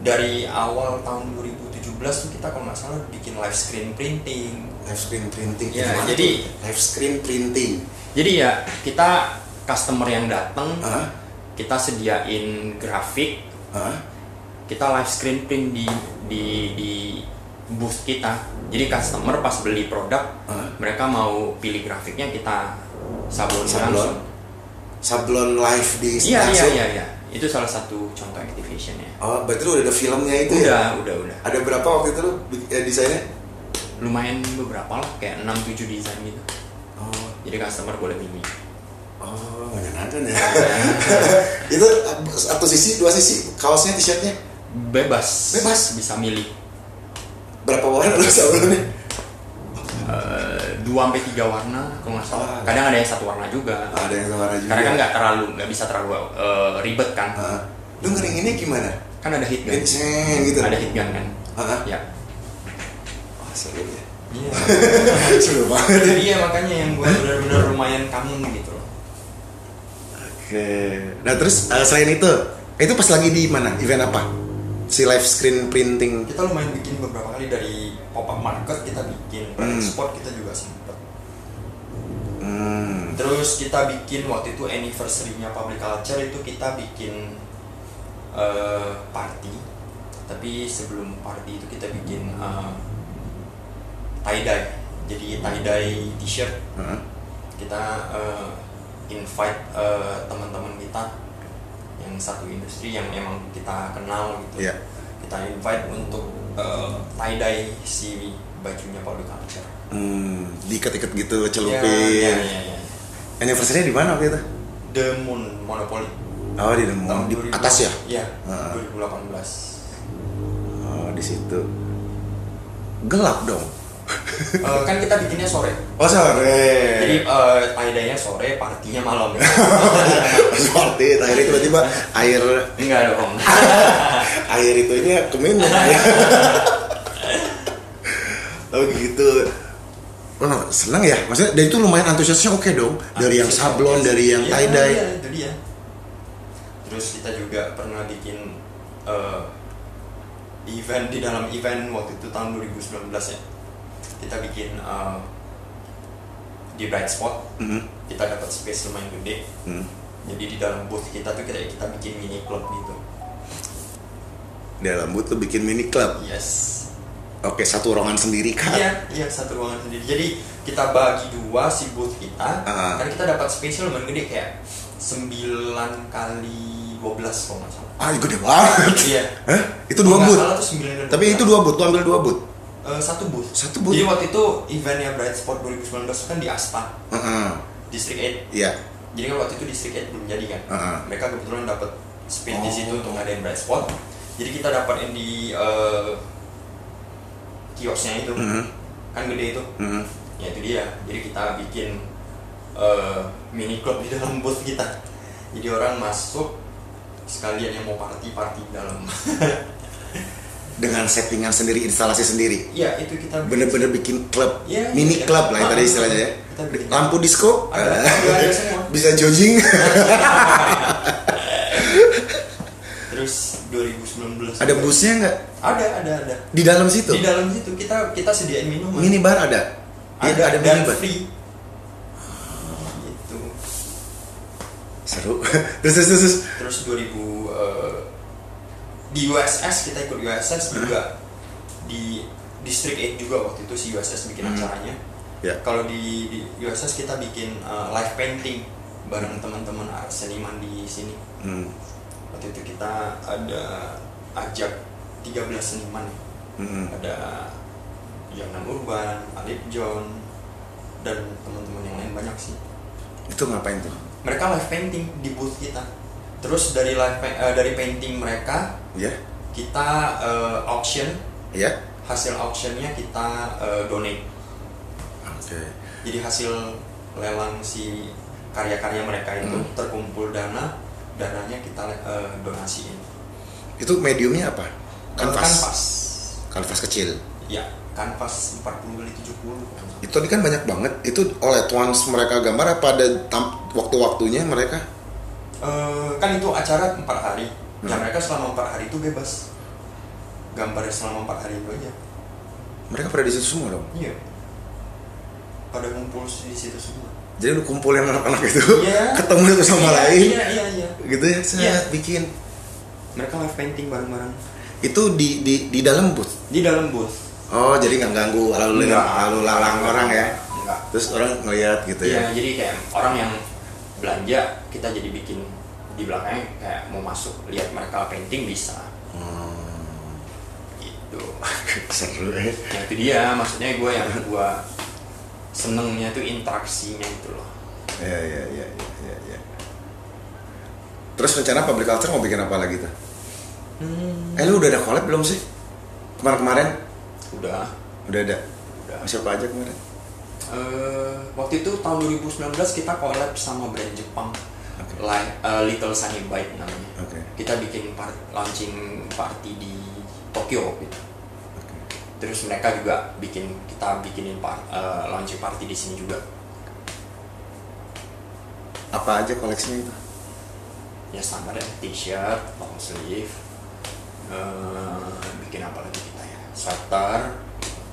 [SPEAKER 1] dari awal tahun 2017 tuh kita kalau nggak salah bikin live screen printing.
[SPEAKER 2] Live screen printing.
[SPEAKER 1] Iya,
[SPEAKER 2] Gimana
[SPEAKER 1] jadi-
[SPEAKER 2] tuh? live screen printing.
[SPEAKER 1] Jadi ya kita customer yang datang
[SPEAKER 2] Hah?
[SPEAKER 1] kita sediain grafik
[SPEAKER 2] Hah?
[SPEAKER 1] kita live screen print di di di booth kita. Jadi customer pas beli produk
[SPEAKER 2] Hah?
[SPEAKER 1] mereka mau pilih grafiknya kita sablon
[SPEAKER 2] Sablon?
[SPEAKER 1] langsung.
[SPEAKER 2] Sablon live di
[SPEAKER 1] Iya iya
[SPEAKER 2] langsung?
[SPEAKER 1] iya iya. Itu salah satu contoh activationnya.
[SPEAKER 2] Oh, berarti lu udah ada filmnya itu ya?
[SPEAKER 1] Udah udah udah.
[SPEAKER 2] Ada berapa waktu itu lu bi- ya, desainnya?
[SPEAKER 1] lumayan beberapa lah kayak 6 7 desain gitu.
[SPEAKER 2] Oh,
[SPEAKER 1] Jadi customer boleh milih.
[SPEAKER 2] oh, menyenangkan ya. itu satu sisi, dua sisi, kaosnya, t-shirtnya.
[SPEAKER 1] Bebas.
[SPEAKER 2] Bebas?
[SPEAKER 1] bisa milih
[SPEAKER 2] Berapa warna lu sablonnya?
[SPEAKER 1] 2 sampai 3 warna kalau nggak salah.
[SPEAKER 2] Ah.
[SPEAKER 1] Kadang ada yang satu warna juga.
[SPEAKER 2] Ada yang warna juga.
[SPEAKER 1] Karena kan nggak terlalu nggak bisa terlalu eh, ribet kan.
[SPEAKER 2] Hah? lu ngeringinnya gimana?
[SPEAKER 1] Kan ada hit gun.
[SPEAKER 2] Kenceng gitu.
[SPEAKER 1] Ada hit gun kan.
[SPEAKER 2] Hah?
[SPEAKER 1] Ya.
[SPEAKER 2] Wah, seru ya.
[SPEAKER 1] Iya.
[SPEAKER 2] seru banget.
[SPEAKER 1] Itu dia makanya yang gue benar-benar lumayan kangen gitu loh.
[SPEAKER 2] Oke. Nah terus eh, selain itu, itu pas lagi di mana? Event apa? Si live screen printing.
[SPEAKER 1] Kita lumayan bikin beberapa kali dari pop up market kita bikin,
[SPEAKER 2] Hmm.
[SPEAKER 1] product spot kita juga sempet.
[SPEAKER 2] Hmm.
[SPEAKER 1] Terus kita bikin waktu itu anniversary-nya Public Culture itu kita bikin eh, party. Tapi sebelum party itu kita bikin eh, tie dye. Jadi tie dye t-shirt
[SPEAKER 2] Heeh.
[SPEAKER 1] kita eh, invite eh, teman-teman kita yang satu industri yang emang kita kenal gitu.
[SPEAKER 2] Iya.
[SPEAKER 1] Kita invite untuk eh, tie dye si bajunya Public Culture.
[SPEAKER 2] Hmm, diikat-ikat gitu,
[SPEAKER 1] Iya,
[SPEAKER 2] celupin.
[SPEAKER 1] iya, iya, iya.
[SPEAKER 2] Anniversary di mana waktu itu?
[SPEAKER 1] The Moon Monopoly.
[SPEAKER 2] Oh di Demong, di
[SPEAKER 1] 2000
[SPEAKER 2] atas ya?
[SPEAKER 1] Iya,
[SPEAKER 2] Heeh.
[SPEAKER 1] 2018.
[SPEAKER 2] Oh di situ. Gelap dong.
[SPEAKER 1] Eh, kan kita bikinnya sore.
[SPEAKER 2] Oh
[SPEAKER 1] Jadi
[SPEAKER 2] sore.
[SPEAKER 1] eh tie-dye-nya sore, partinya malam. ya.
[SPEAKER 2] Seperti itu. Akhirnya tiba-tiba air
[SPEAKER 1] Enggak dong.
[SPEAKER 2] air itunya keminum oh gitu Wah, seneng ya maksudnya dari itu lumayan antusiasnya oke dong dari yang sablon dari yang
[SPEAKER 1] Iya,
[SPEAKER 2] tie dye
[SPEAKER 1] Iya, itu dia. Terus kita juga pernah bikin eh, event di dalam event waktu itu tahun 2019 ya. Kita bikin eh, di Bright Spot,
[SPEAKER 2] Mhm.
[SPEAKER 1] kita dapat space lumayan gede.
[SPEAKER 2] Hmm.
[SPEAKER 1] Jadi di dalam booth kita tuh kita kita bikin mini club gitu.
[SPEAKER 2] di dalam booth tuh bikin mini club
[SPEAKER 1] Yes.
[SPEAKER 2] oke satu ruangan sendiri kan
[SPEAKER 1] Iya, iya satu ruangan sendiri. Jadi kita bagi dua si booth kita,
[SPEAKER 2] Ah.
[SPEAKER 1] karena kita dapat spesial lumayan gede kayak 9 kali 12 kalau nggak salah.
[SPEAKER 2] ah gede banget
[SPEAKER 1] Iya.
[SPEAKER 2] Hah? itu
[SPEAKER 1] Kalau
[SPEAKER 2] dua
[SPEAKER 1] nggak
[SPEAKER 2] booth
[SPEAKER 1] salah tuh 9 kali
[SPEAKER 2] tapi
[SPEAKER 1] 12.
[SPEAKER 2] itu dua booth lu ambil dua booth
[SPEAKER 1] Eh, satu booth.
[SPEAKER 2] Satu booth.
[SPEAKER 1] Jadi waktu itu eventnya Bright Spot 2019 kan di Asta,
[SPEAKER 2] Heeh.
[SPEAKER 1] District 8.
[SPEAKER 2] iya
[SPEAKER 1] Jadi kan waktu itu District 8 belum jadi kan.
[SPEAKER 2] Ah.
[SPEAKER 1] Mereka kebetulan dapat space di
[SPEAKER 2] Oh.
[SPEAKER 1] situ untuk ngadain Bright Spot. Jadi kita dapat yang di eh, kiosnya itu.
[SPEAKER 2] Mhm.
[SPEAKER 1] Kan gede itu.
[SPEAKER 2] Hmm.
[SPEAKER 1] ya itu dia jadi kita bikin eh, mini club di dalam booth kita jadi orang masuk sekalian yang mau party party di dalam
[SPEAKER 2] dengan settingan sendiri instalasi sendiri
[SPEAKER 1] iya itu kita bikin.
[SPEAKER 2] bener-bener bikin klub
[SPEAKER 1] Iya, iya.
[SPEAKER 2] mini club lah yang tadi
[SPEAKER 1] Ah,
[SPEAKER 2] istilahnya ya
[SPEAKER 1] kita bikin.
[SPEAKER 2] lampu disco
[SPEAKER 1] Ada, ada, ada semua.
[SPEAKER 2] bisa jogging
[SPEAKER 1] terus 2019
[SPEAKER 2] Ada busnya nggak?
[SPEAKER 1] Ada, ada, ada.
[SPEAKER 2] Di dalam situ?
[SPEAKER 1] Di dalam situ kita kita sediain minuman.
[SPEAKER 2] Minibar ada?
[SPEAKER 1] ada,
[SPEAKER 2] Di- iya, ada
[SPEAKER 1] dan
[SPEAKER 2] minibar?
[SPEAKER 1] free. Gitu.
[SPEAKER 2] Seru. terus, terus, terus, terus.
[SPEAKER 1] Terus 2000 eh, di USS kita ikut USS
[SPEAKER 2] Hmm.
[SPEAKER 1] juga di District 8 juga waktu itu si USS bikin acaranya.
[SPEAKER 2] Ya.
[SPEAKER 1] Kalau di, di USS kita bikin eh, live painting bareng teman-teman art seniman di sini.
[SPEAKER 2] Hmm.
[SPEAKER 1] Waktu itu kita ada ajak 13 seniman.
[SPEAKER 2] Hmm.
[SPEAKER 1] Ada Jonan Urban, Alip John dan teman-teman yang lain banyak sih
[SPEAKER 2] Itu ngapain tuh?
[SPEAKER 1] mereka live painting di booth kita terus dari live pa- eh, dari painting mereka
[SPEAKER 2] Ya?
[SPEAKER 1] kita eh, auction
[SPEAKER 2] Ya?
[SPEAKER 1] hasil auctionnya kita eh, donate
[SPEAKER 2] Oke.
[SPEAKER 1] jadi hasil lelang si karya-karya mereka itu
[SPEAKER 2] Hmm.
[SPEAKER 1] terkumpul dana dananya kita eh, donasiin
[SPEAKER 2] Itu mediumnya apa? Kanvas.
[SPEAKER 1] kanvas
[SPEAKER 2] Kanvas kecil.
[SPEAKER 1] ya kanvas 40 kali 70 kalau nggak salah.
[SPEAKER 2] Itu tadi kan banyak banget. Itu oleh once mereka gambar apa ada tam- waktu-waktunya mereka?
[SPEAKER 1] Eh, kan itu acara empat hari
[SPEAKER 2] Hmm.
[SPEAKER 1] ya mereka selama empat hari itu bebas gambarnya selama empat hari itu aja
[SPEAKER 2] Mereka pada di situ semua dong.
[SPEAKER 1] Iya. Pada ngumpul di situ semua.
[SPEAKER 2] Jadi lu kumpulin anak-anak itu,
[SPEAKER 1] Iya.
[SPEAKER 2] ketemu satu
[SPEAKER 1] Iya,
[SPEAKER 2] sama lain,
[SPEAKER 1] Iya, iya, iya.
[SPEAKER 2] gitu ya, set,
[SPEAKER 1] Iya.
[SPEAKER 2] bikin.
[SPEAKER 1] Mereka live painting bareng-bareng
[SPEAKER 2] Itu di di di dalam booth.
[SPEAKER 1] di dalam booth.
[SPEAKER 2] Oh, jadi nggak ganggu
[SPEAKER 1] Nggak.
[SPEAKER 2] lalu lalu lalang orang ya.
[SPEAKER 1] Enggak.
[SPEAKER 2] Terus orang ngeliat gitu
[SPEAKER 1] Iya,
[SPEAKER 2] ya.
[SPEAKER 1] jadi kayak orang yang belanja kita jadi bikin di belakangnya kayak mau masuk lihat mereka painting bisa. Gitu.
[SPEAKER 2] Oh, Seru ya.
[SPEAKER 1] ya itu dia maksudnya gue yang gue senengnya tuh interaksinya itu loh.
[SPEAKER 2] Ya ya ya ya ya. ya. Terus rencana public culture mau bikin apa lagi tuh? Eh lu udah ada collab belum sih? Kemarin kemarin
[SPEAKER 1] Udah.
[SPEAKER 2] udah ada.
[SPEAKER 1] Udah.
[SPEAKER 2] Siapa aja kemarin?
[SPEAKER 1] Eh, waktu itu tahun 2019 kita collab sama brand Jepang
[SPEAKER 2] Oke.
[SPEAKER 1] Li- eh, Little Sunny Bite namanya
[SPEAKER 2] Oke.
[SPEAKER 1] kita bikin par- launching party di Tokyo waktu itu.
[SPEAKER 2] Oke.
[SPEAKER 1] terus mereka juga bikin kita bikinin par- eh, launching party di sini juga
[SPEAKER 2] Apa aja koleksinya itu?
[SPEAKER 1] ya standar ya t-shirt long sleeve eh, bikin apa lagi kita ya sweater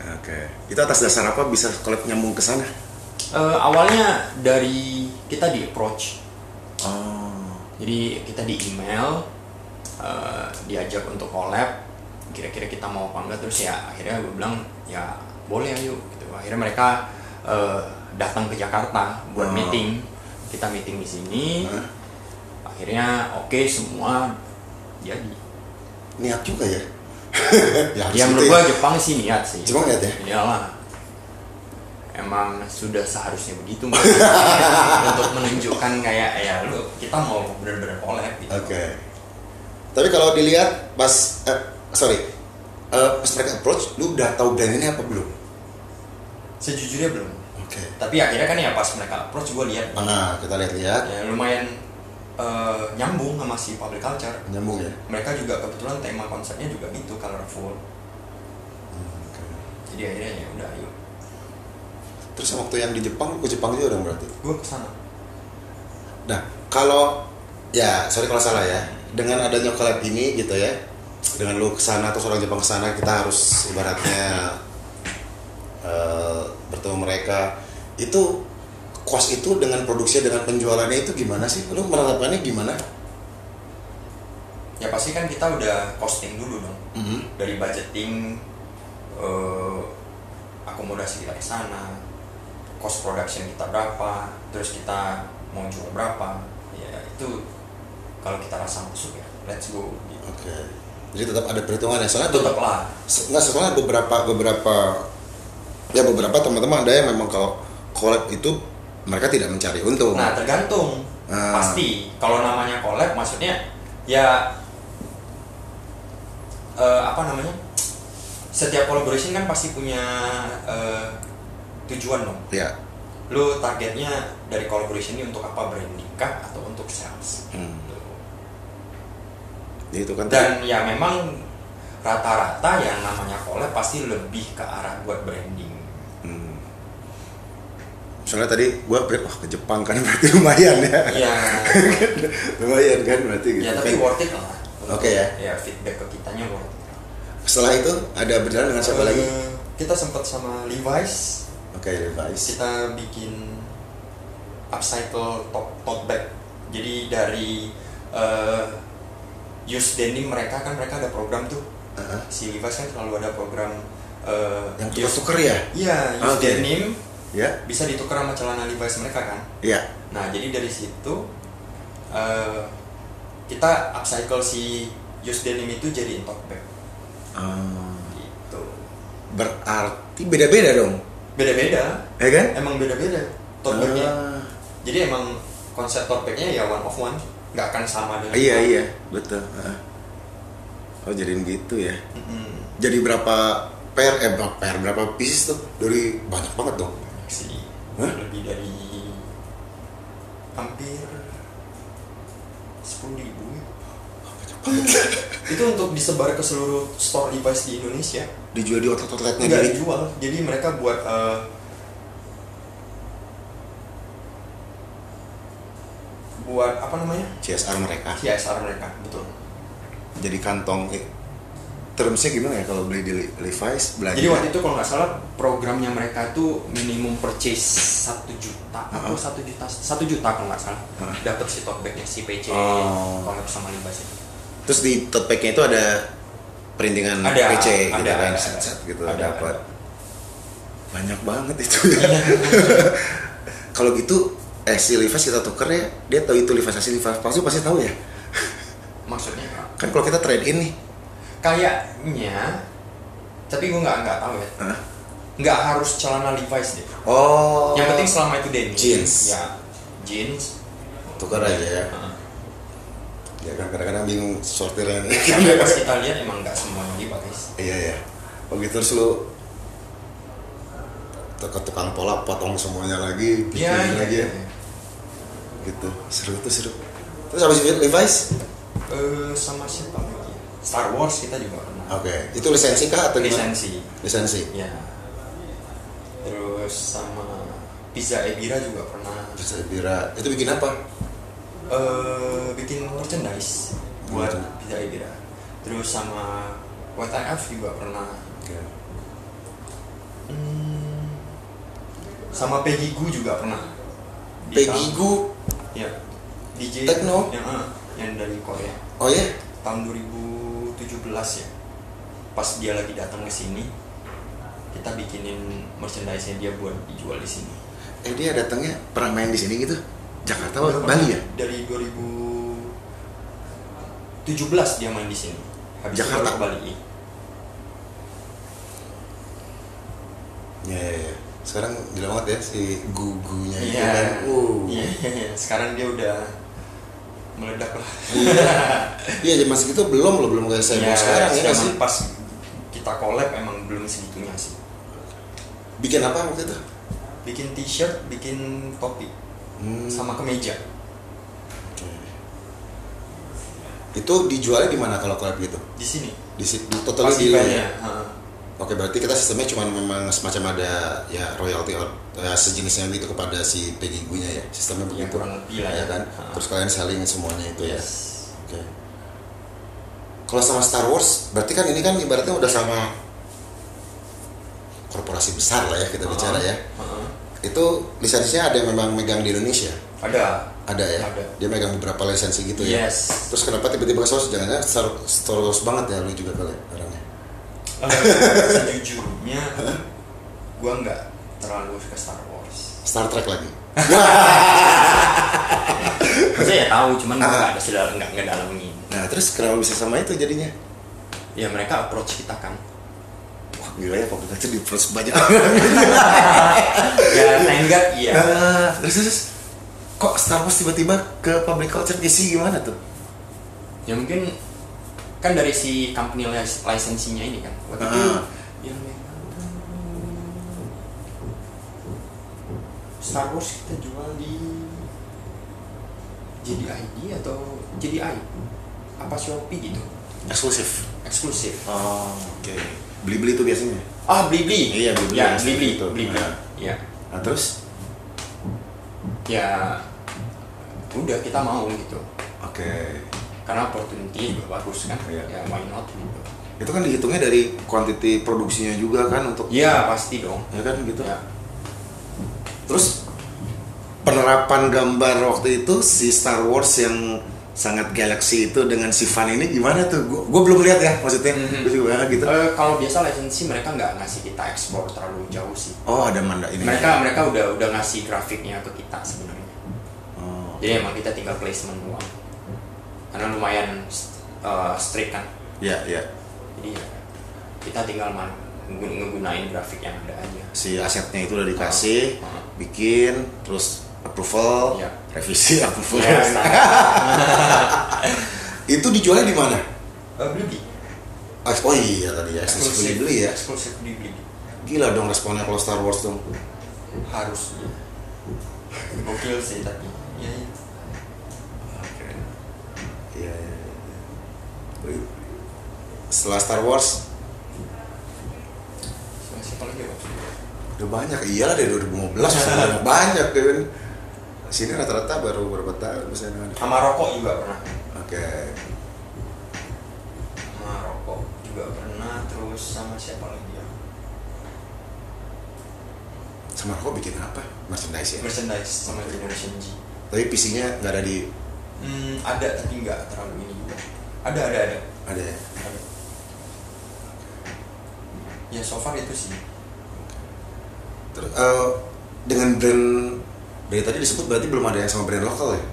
[SPEAKER 2] Oke. Itu atas dasar apa bisa collab nyambung ke sana?
[SPEAKER 1] Eh, awalnya dari kita di approach
[SPEAKER 2] Oh.
[SPEAKER 1] Jadi kita di email eh, diajak untuk collab kira-kira kita mau apa enggak terus ya akhirnya gue bilang ya boleh ayo gitu. Akhirnya mereka eh, datang ke Jakarta buat
[SPEAKER 2] Oh.
[SPEAKER 1] meeting. Kita meeting di sini.
[SPEAKER 2] Hah?
[SPEAKER 1] Akhirnya oke semua jadi.
[SPEAKER 2] Niat juga ya. ya, harus
[SPEAKER 1] Ya
[SPEAKER 2] gitu
[SPEAKER 1] menurut gue Jepang sih niat sih.
[SPEAKER 2] Jepang niat ya?
[SPEAKER 1] Iyalah. Emang sudah seharusnya begitu Mas. untuk menunjukkan kayak ya lu kita mau bener-bener collab gitu.
[SPEAKER 2] Oke. Tapi kalau dilihat pas eh, sorry Eh, pas mereka approach, lu udah tahu brand ini apa belum?
[SPEAKER 1] Sejujurnya belum.
[SPEAKER 2] Oke.
[SPEAKER 1] tapi akhirnya kan ya pas mereka approach gue lihat
[SPEAKER 2] Mana kita lihat-lihat
[SPEAKER 1] ya lumayan eh, nyambung sama si public culture
[SPEAKER 2] nyambung ya.
[SPEAKER 1] mereka juga kebetulan tema konsepnya juga gitu colorful jadi akhirnya ya udah yuk
[SPEAKER 2] Terus waktu yang di Jepang, lu ke Jepang juga dong berarti.
[SPEAKER 1] gue kesana
[SPEAKER 2] Nah, kalau ya sorry kalau salah ya, dengan adanya collab ini gitu ya, dengan lu kesana terus orang Jepang kesana, kita harus ibaratnya eh, bertemu mereka. Itu cost itu dengan produksinya dengan penjualannya itu gimana sih? Lu menetapkannya gimana?
[SPEAKER 1] ya pasti kan kita udah costing dulu dong
[SPEAKER 2] Mm-hmm.
[SPEAKER 1] dari budgeting eh, akomodasi kita ke sana cost production kita berapa terus kita mau jual berapa ya itu kalau kita rasa masuk ya let's go gitu.
[SPEAKER 2] Oke. Jadi tetap ada perhitungan ya. Soalnya
[SPEAKER 1] tetap
[SPEAKER 2] tetap
[SPEAKER 1] lah
[SPEAKER 2] nggak soalnya beberapa beberapa ya beberapa teman-teman ada yang memang kalau collab itu mereka tidak mencari untung.
[SPEAKER 1] Nah tergantung
[SPEAKER 2] Ah.
[SPEAKER 1] pasti kalau namanya collab maksudnya ya eh, apa namanya setiap collaboration kan pasti punya eh, tujuan dong.
[SPEAKER 2] Ya.
[SPEAKER 1] Lu targetnya dari collaboration ini untuk apa branding kah atau untuk sales?
[SPEAKER 2] Hmm.
[SPEAKER 1] Gitu.
[SPEAKER 2] Jadi itu kan.
[SPEAKER 1] Dan ya memang rata-rata yang namanya collab pasti lebih ke arah buat branding.
[SPEAKER 2] Hmm. Soalnya tadi gua pikir wah ke Jepang kan berarti lumayan ya.
[SPEAKER 1] Iya.
[SPEAKER 2] lumayan kan berarti gitu.
[SPEAKER 1] ya tapi
[SPEAKER 2] kan.
[SPEAKER 1] worth it lah.
[SPEAKER 2] Oke ya.
[SPEAKER 1] ya feedback ke kitanya worth it.
[SPEAKER 2] Setelah itu ada berjalan dengan siapa
[SPEAKER 1] Eh,
[SPEAKER 2] lagi?
[SPEAKER 1] kita sempat sama Levi's
[SPEAKER 2] Oke, Levi's.
[SPEAKER 1] kita bikin upcycle top tote bag jadi dari eh use denim mereka kan mereka ada program tuh
[SPEAKER 2] Heeh.
[SPEAKER 1] si Levi's kan selalu ada program eh,
[SPEAKER 2] Yang
[SPEAKER 1] use-
[SPEAKER 2] tuker-tuker ya?
[SPEAKER 1] Iya, use
[SPEAKER 2] Oke.
[SPEAKER 1] denim
[SPEAKER 2] Ya,
[SPEAKER 1] bisa ditukar sama celana Levi's mereka kan.
[SPEAKER 2] ya.
[SPEAKER 1] Nah, jadi dari situ eh, kita upcycle si used denim itu jadiin tote bag
[SPEAKER 2] Eh,
[SPEAKER 1] gitu.
[SPEAKER 2] berarti beda-beda dong,
[SPEAKER 1] Beda-beda,
[SPEAKER 2] ya kan?
[SPEAKER 1] emang beda-beda tote bagnya.
[SPEAKER 2] Ah.
[SPEAKER 1] Jadi emang konsep tote bagnya ya one of one, nggak akan sama dengan.
[SPEAKER 2] Ah, iya iya, betul. Heeh. Oh jadiin gitu ya.
[SPEAKER 1] Mm-mm.
[SPEAKER 2] Jadi berapa pair, eh berapa pair, berapa pieces tuh? Dari banyak banget dong.
[SPEAKER 1] Si
[SPEAKER 2] Hah?
[SPEAKER 1] lebih dari hampir sepuluh ribu. itu untuk disebar ke seluruh store Levi's di Indonesia.
[SPEAKER 2] Dijual di outlet-outletnya
[SPEAKER 1] nggak
[SPEAKER 2] dari
[SPEAKER 1] dijual jadi mereka buat eh, buat apa namanya
[SPEAKER 2] CSR mereka.
[SPEAKER 1] CSR mereka betul
[SPEAKER 2] Jadi kantong eh, termsnya gimana ya kalau beli di Le- Levi's belanja?
[SPEAKER 1] jadi waktu itu kalau nggak salah programnya mereka itu minimum purchase satu juta atau satu juta satu juta kalau nggak salah
[SPEAKER 2] Heeh.
[SPEAKER 1] dapat si tote bagnya si PC
[SPEAKER 2] Oh.
[SPEAKER 1] collab sama Libas itu
[SPEAKER 2] Terus di tote bag-nya itu ada perintingan
[SPEAKER 1] Ada,
[SPEAKER 2] PC
[SPEAKER 1] ada,
[SPEAKER 2] gitu kan,
[SPEAKER 1] ada,
[SPEAKER 2] set-set
[SPEAKER 1] ada.
[SPEAKER 2] gitu
[SPEAKER 1] Ada,
[SPEAKER 2] dapat.
[SPEAKER 1] ada. Iya.
[SPEAKER 2] Banyak banget itu. ya. kalau gitu eh si Levi's kita tuker ya, dia tahu itu Levi's asli Levi's palsu pasti tahu ya.
[SPEAKER 1] maksudnya
[SPEAKER 2] Kan kalau kita trade in nih,
[SPEAKER 1] kayaknya tapi gue nggak nggak tahu ya
[SPEAKER 2] Hah?
[SPEAKER 1] nggak harus celana Levi's deh
[SPEAKER 2] Oh.
[SPEAKER 1] yang penting selama itu denim
[SPEAKER 2] Jeans.
[SPEAKER 1] ya jeans
[SPEAKER 2] tukar aja ya.
[SPEAKER 1] Heeh.
[SPEAKER 2] Ya kan kadang-kadang bingung sortiran.
[SPEAKER 1] Karena pas kita lihat emang nggak semuanya dipakai.
[SPEAKER 2] iya ya. Oh gitu terus lu ke tukang pola potong semuanya lagi,
[SPEAKER 1] Iya,
[SPEAKER 2] bikin lagi ya. Gitu. Seru tuh seru. Terus habis itu Levi's?
[SPEAKER 1] Eh, sama siapa lagi? ya? Star Wars kita juga pernah.
[SPEAKER 2] Oke. Itu lisensi kah atau gimana?
[SPEAKER 1] Lisensi.
[SPEAKER 2] Lisensi.
[SPEAKER 1] Ya. Terus sama Pizza Ebira juga pernah.
[SPEAKER 2] Terus ada bira. Itu bikin apa?
[SPEAKER 1] Eh, bikin merchandise buat
[SPEAKER 2] Merchandise.
[SPEAKER 1] Pizza Ebira. Terus sama WTF juga pernah.
[SPEAKER 2] Oke.
[SPEAKER 1] Hmm, sama Peggy Gu juga pernah. Di
[SPEAKER 2] Peggy
[SPEAKER 1] tahun-
[SPEAKER 2] Gu.
[SPEAKER 1] Ya. DJ
[SPEAKER 2] Techno?
[SPEAKER 1] yang, eh, yang dari Korea.
[SPEAKER 2] Oh ya?
[SPEAKER 1] tahun 2017 ya pas dia lagi datang ke sini kita bikinin merchandise nya dia buat dijual di sini
[SPEAKER 2] Eh dia datangnya pernah main di sini gitu? Jakarta
[SPEAKER 1] Dia
[SPEAKER 2] atau
[SPEAKER 1] pernah
[SPEAKER 2] Bali ya?
[SPEAKER 1] dari 2017 dia main di sini habis itu
[SPEAKER 2] Jakarta?
[SPEAKER 1] baru ke Bali
[SPEAKER 2] Iya, iya, iya. Sekarang gila banget ya si gugunya itu
[SPEAKER 1] iya
[SPEAKER 2] kan. Uh.
[SPEAKER 1] Iya, iya. sekarang dia udah meledak lah
[SPEAKER 2] Iya, zaman segitu belum loh, belum kayak saya
[SPEAKER 1] Iya,
[SPEAKER 2] sekarang ya nggak
[SPEAKER 1] zaman
[SPEAKER 2] sih.
[SPEAKER 1] pas kita collab emang belum segitunya sih
[SPEAKER 2] Bikin apa waktu itu?
[SPEAKER 1] bikin t-shirt bikin topi
[SPEAKER 2] Hmm.
[SPEAKER 1] sama kemeja
[SPEAKER 2] Oke. Itu dijualnya di mana kalau collab gitu?
[SPEAKER 1] di sini
[SPEAKER 2] Di situ totalnya
[SPEAKER 1] Pas
[SPEAKER 2] di lu
[SPEAKER 1] eventnya,
[SPEAKER 2] ya.
[SPEAKER 1] ha.
[SPEAKER 2] Oke, berarti kita sistemnya cuma memang semacam ada ya royalty or ya, sejenisnya gitu kepada si Peggy nya ya. Sistemnya
[SPEAKER 1] Ya,
[SPEAKER 2] begitu.
[SPEAKER 1] kurang lebih lah
[SPEAKER 2] ya kan.
[SPEAKER 1] Ha.
[SPEAKER 2] Terus kalian saling semuanya itu ya.
[SPEAKER 1] Yes.
[SPEAKER 2] Oke. Kalau sama Star Wars, berarti kan ini kan ibaratnya udah sama korporasi besar lah ya kita bicara ya.
[SPEAKER 1] Heeh.
[SPEAKER 2] Itu lisensinya ada yang memang megang di Indonesia,
[SPEAKER 1] Ada.
[SPEAKER 2] ada ya.
[SPEAKER 1] Ada. Iya.
[SPEAKER 2] Dia megang beberapa lisensi gitu ya.
[SPEAKER 1] Yes.
[SPEAKER 2] Terus kenapa tiba-tiba ke Star Wars? Jangan-jangan Star, Star Wars banget ya lu juga kali ya orangnya.
[SPEAKER 1] Eh, Sejujurnya, gua nggak terlalu ke Star Wars.
[SPEAKER 2] Star Trek lagi.
[SPEAKER 1] Saya ya tahu, cuman gua nggak ada sedal nggak ngedalamin.
[SPEAKER 2] Nah terus kenapa bisa sama itu jadinya?
[SPEAKER 1] Ya mereka approach kita kan.
[SPEAKER 2] Wah gila ya public culture di approach banyak.
[SPEAKER 1] ya tenggat iya.
[SPEAKER 2] Ah, terus, terus kok Star Wars tiba-tiba ke public culture sih gimana tuh?
[SPEAKER 1] Ya mungkin kan dari si company lis- lisensinya ini kan. Waktu itu
[SPEAKER 2] Ah.
[SPEAKER 1] yang Star Wars kita jual di JDID atau JDI apa Shopee gitu
[SPEAKER 2] Eksklusif.
[SPEAKER 1] eksklusif
[SPEAKER 2] Oh, oke. Beli-beli tuh biasanya.
[SPEAKER 1] ah Blibli
[SPEAKER 2] Iya, Blibli.
[SPEAKER 1] ya Blibli
[SPEAKER 2] Gitu.
[SPEAKER 1] Blibli
[SPEAKER 2] Nah.
[SPEAKER 1] ya
[SPEAKER 2] Nah, terus
[SPEAKER 1] ya udah kita mau gitu
[SPEAKER 2] oke.
[SPEAKER 1] karena opportunity juga bagus kan
[SPEAKER 2] Iya.
[SPEAKER 1] ya why not gitu
[SPEAKER 2] itu kan dihitungnya dari quantity produksinya juga kan untuk
[SPEAKER 1] iya pasti dong
[SPEAKER 2] ya kan gitu
[SPEAKER 1] ya.
[SPEAKER 2] terus penerapan gambar waktu itu si Star Wars yang sangat galaxy itu dengan si Van ini gimana tuh gua, gua belum lihat ya maksudnya
[SPEAKER 1] Mhm.
[SPEAKER 2] Gua juga nggak gitu
[SPEAKER 1] Eh, kalau biasa lisensi mereka nggak ngasih kita ekspor terlalu jauh sih
[SPEAKER 2] oh ada manda ini
[SPEAKER 1] mereka mereka udah udah ngasih grafiknya ke kita sebenarnya
[SPEAKER 2] Oh.
[SPEAKER 1] jadi emang kita tinggal placement doang karena lumayan eh, strict kan
[SPEAKER 2] ya ya
[SPEAKER 1] jadi ya, kita tinggal man- ngegu- ngegunain grafik yang ada aja
[SPEAKER 2] si asetnya itu udah dikasih
[SPEAKER 1] Ah.
[SPEAKER 2] bikin terus approval
[SPEAKER 1] Iya.
[SPEAKER 2] revisi approval
[SPEAKER 1] Ya, standar.
[SPEAKER 2] itu dijualnya di mana
[SPEAKER 1] Eh, Blibli.
[SPEAKER 2] Ah, oh iya tadi ya eksklusif beli ya
[SPEAKER 1] eksklusif di Blibli.
[SPEAKER 2] gila dong responnya kalau Star Wars dong
[SPEAKER 1] harus ya. gokil sih tapi ya itu Keren.
[SPEAKER 2] Iya. iya, iya. Setelah Star Wars
[SPEAKER 1] siapa lagi Pak?
[SPEAKER 2] udah banyak. Iyalah dari 2015 sudah banyak kan. Sini rata-rata baru berapa tahun misalnya.
[SPEAKER 1] sama rokok juga pernah
[SPEAKER 2] Oke.
[SPEAKER 1] sama rokok juga pernah terus sama siapa lagi ya
[SPEAKER 2] Sama aku bikin apa? Merchandise ya.
[SPEAKER 1] merchandise sama Generation G
[SPEAKER 2] Tapi PC-nya nggak ada di
[SPEAKER 1] hmm, ada tapi nggak terlalu ini juga ada ada ada
[SPEAKER 2] ada ya.
[SPEAKER 1] ada ya so far itu sih
[SPEAKER 2] Terus eh, dengan brand dari tadi disebut berarti belum ada yang sama brand lokal ya?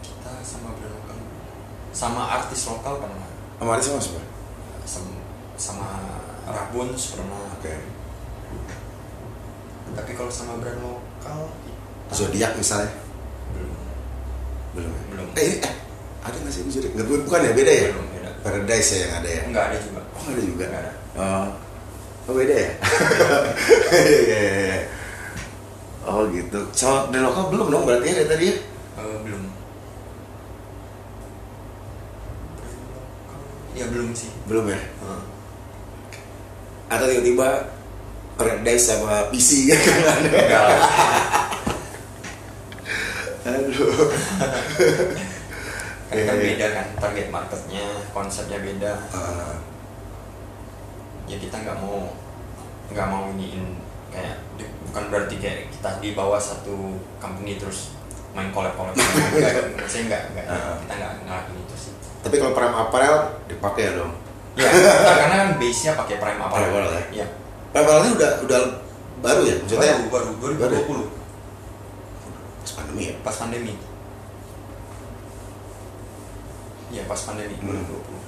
[SPEAKER 1] kita sama brand lokal sama artis lokal pernah
[SPEAKER 2] Sama ada sama semua.
[SPEAKER 1] sama, sama Rabuns pernah
[SPEAKER 2] Oke.
[SPEAKER 1] tapi kalau sama brand lokal kita
[SPEAKER 2] Zodiak misalnya
[SPEAKER 1] belum
[SPEAKER 2] belum. ya?
[SPEAKER 1] Belum.
[SPEAKER 2] Eh, ini, eh ada nggak sih ini Zodiak? Nggak, bukan ya beda ya?
[SPEAKER 1] belum beda
[SPEAKER 2] Paradise ya yang ada ya?
[SPEAKER 1] nggak ada juga
[SPEAKER 2] Oh ada juga.
[SPEAKER 1] nggak ada
[SPEAKER 2] Oh, oh beda ya? Iya, iya, iya. oh gitu. Sama dari lokal belum dong berarti ya dari tadi ya?
[SPEAKER 1] Eh, belum Brand lokal? ya belum sih
[SPEAKER 2] Belum ya? Atau tiba-tiba Paradise sama PC gitu kan?
[SPEAKER 1] enggak lah.
[SPEAKER 2] Aduh.
[SPEAKER 1] Karena kan
[SPEAKER 2] Iya, iya.
[SPEAKER 1] beda kan target marketnya konsepnya beda
[SPEAKER 2] Ah,
[SPEAKER 1] ya kita nggak mau nggak mau iniin kayak di- bukan berarti kayak kita di bawah satu company terus main collab collab maksudnya nggak nggak
[SPEAKER 2] Heeh.
[SPEAKER 1] kita nggak ngelakuin itu sih
[SPEAKER 2] tapi kalau perang aparel dipakai ya dong.
[SPEAKER 1] ya karena kan base nya pakai prime apa
[SPEAKER 2] Prime Apparel
[SPEAKER 1] ya
[SPEAKER 2] Perang aparelnya udah udah baru ya? Maksudnya
[SPEAKER 1] baru baru
[SPEAKER 2] Baru ya?
[SPEAKER 1] 2020
[SPEAKER 2] pandemi ya?
[SPEAKER 1] pas pandemi ya pas pandemi
[SPEAKER 2] Hmm.
[SPEAKER 1] 2020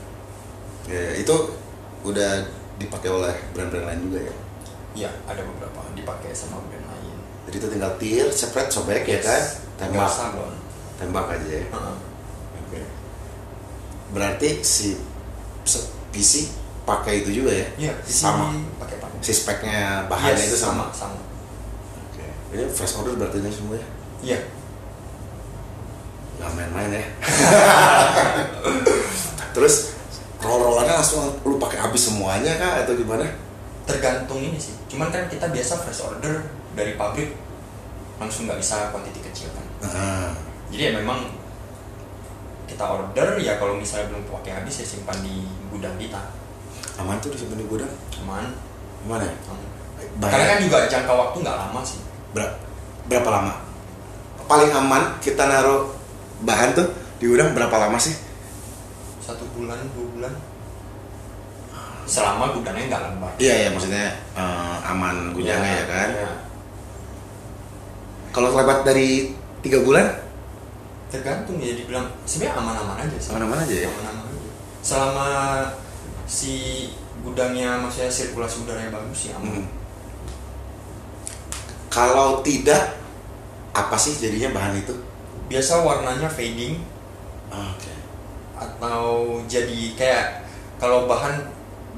[SPEAKER 2] Ya, itu udah dipakai oleh brand-brand lain juga ya.
[SPEAKER 1] ya ada beberapa dipakai sama brand lain
[SPEAKER 2] Jadi itu tinggal tir, spread, sobek ya kan?
[SPEAKER 1] tembak
[SPEAKER 2] Tembak, tembak aja ya. Oke. Berarti si se- PC pakai itu juga ya?
[SPEAKER 1] Iya, di sini
[SPEAKER 2] Sama.
[SPEAKER 1] pakai apa?
[SPEAKER 2] Si speknya bahannya
[SPEAKER 1] Yes,
[SPEAKER 2] itu sama.
[SPEAKER 1] sama.
[SPEAKER 2] Oke. Ini fresh order berarti ini semua ya?
[SPEAKER 1] Iya.
[SPEAKER 2] Gak main-main ya. Terus roll-rollannya langsung lu pakai habis semuanya kah atau gimana?
[SPEAKER 1] tergantung ini sih cuman kan kita biasa fresh order dari pabrik langsung nggak bisa kuantiti kecil kan
[SPEAKER 2] Nah,
[SPEAKER 1] jadi ya memang kita order ya kalau misalnya belum pakai habis ya simpan di gudang kita
[SPEAKER 2] aman tuh disimpan di gudang.
[SPEAKER 1] aman
[SPEAKER 2] Gimana? ya?
[SPEAKER 1] aman. karena
[SPEAKER 2] Bahaya.
[SPEAKER 1] kan juga jangka waktu nggak lama sih
[SPEAKER 2] Ber- berapa lama? Paling aman kita naruh bahan tuh di gudang berapa lama sih?
[SPEAKER 1] satu bulan dua bulan selama gudangnya nggak lembar
[SPEAKER 2] Iya ya maksudnya eh, aman gudangnya ya kan.
[SPEAKER 1] Iya.
[SPEAKER 2] Kalau lebat dari tiga bulan,
[SPEAKER 1] tergantung ya dibilang sebenarnya aman-aman aja sih.
[SPEAKER 2] Aman-aman aja ya?
[SPEAKER 1] Aman-aman aja. selama si gudangnya maksudnya sirkulasi udaranya bagus ya aman
[SPEAKER 2] hmm. kalau tidak apa sih jadinya bahan itu?
[SPEAKER 1] biasa warnanya fading
[SPEAKER 2] Ah, Oke.
[SPEAKER 1] atau jadi kayak kalau bahan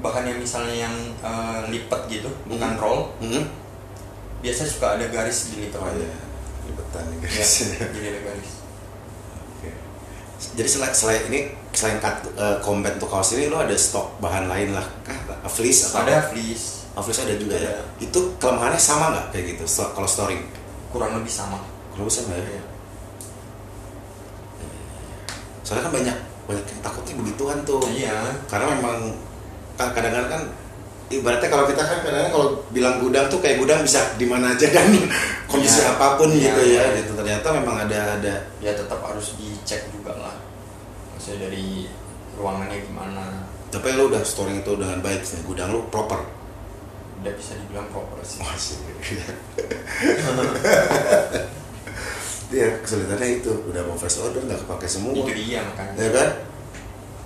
[SPEAKER 1] bahan yang misalnya yang eh, lipat gitu bukan
[SPEAKER 2] Hmm.
[SPEAKER 1] roll
[SPEAKER 2] Hmm.
[SPEAKER 1] biasa suka ada garis di lipat
[SPEAKER 2] Oh iya, libetan nih
[SPEAKER 1] ya,
[SPEAKER 2] guys.
[SPEAKER 1] jadi ada garis
[SPEAKER 2] Oke. Jadi selain, selain ini selain kat, eh, combat untuk kaos ini lo ada stok bahan lain lah kah? Fleece atau
[SPEAKER 1] ada fleece
[SPEAKER 2] Oh, fleece ada juga ya.
[SPEAKER 1] Ada.
[SPEAKER 2] Itu kelemahannya sama nggak kayak gitu? sto- kalau storing, Iya.
[SPEAKER 1] kurang lebih sama
[SPEAKER 2] kalau bisa nggak ya? soalnya kan banyak banyak yang takutnya begituan tuh
[SPEAKER 1] Iya.
[SPEAKER 2] karena memang ka- kadang-kadang kan ibaratnya kalau kita kan kadang-kadang kalau bilang gudang tuh kayak gudang bisa di mana aja kan kondisi
[SPEAKER 1] Iya.
[SPEAKER 2] apapun
[SPEAKER 1] Iya.
[SPEAKER 2] gitu ya gitu ternyata memang ada ada
[SPEAKER 1] ya tetap harus dicek juga lah maksudnya dari ruangannya gimana
[SPEAKER 2] tapi lu udah storing itu dengan baik sih gudang lu proper
[SPEAKER 1] udah bisa dibilang proper sih
[SPEAKER 2] masih ya kesulitannya itu udah mau first order nggak kepake semua
[SPEAKER 1] itu dia
[SPEAKER 2] ya
[SPEAKER 1] makanya
[SPEAKER 2] kan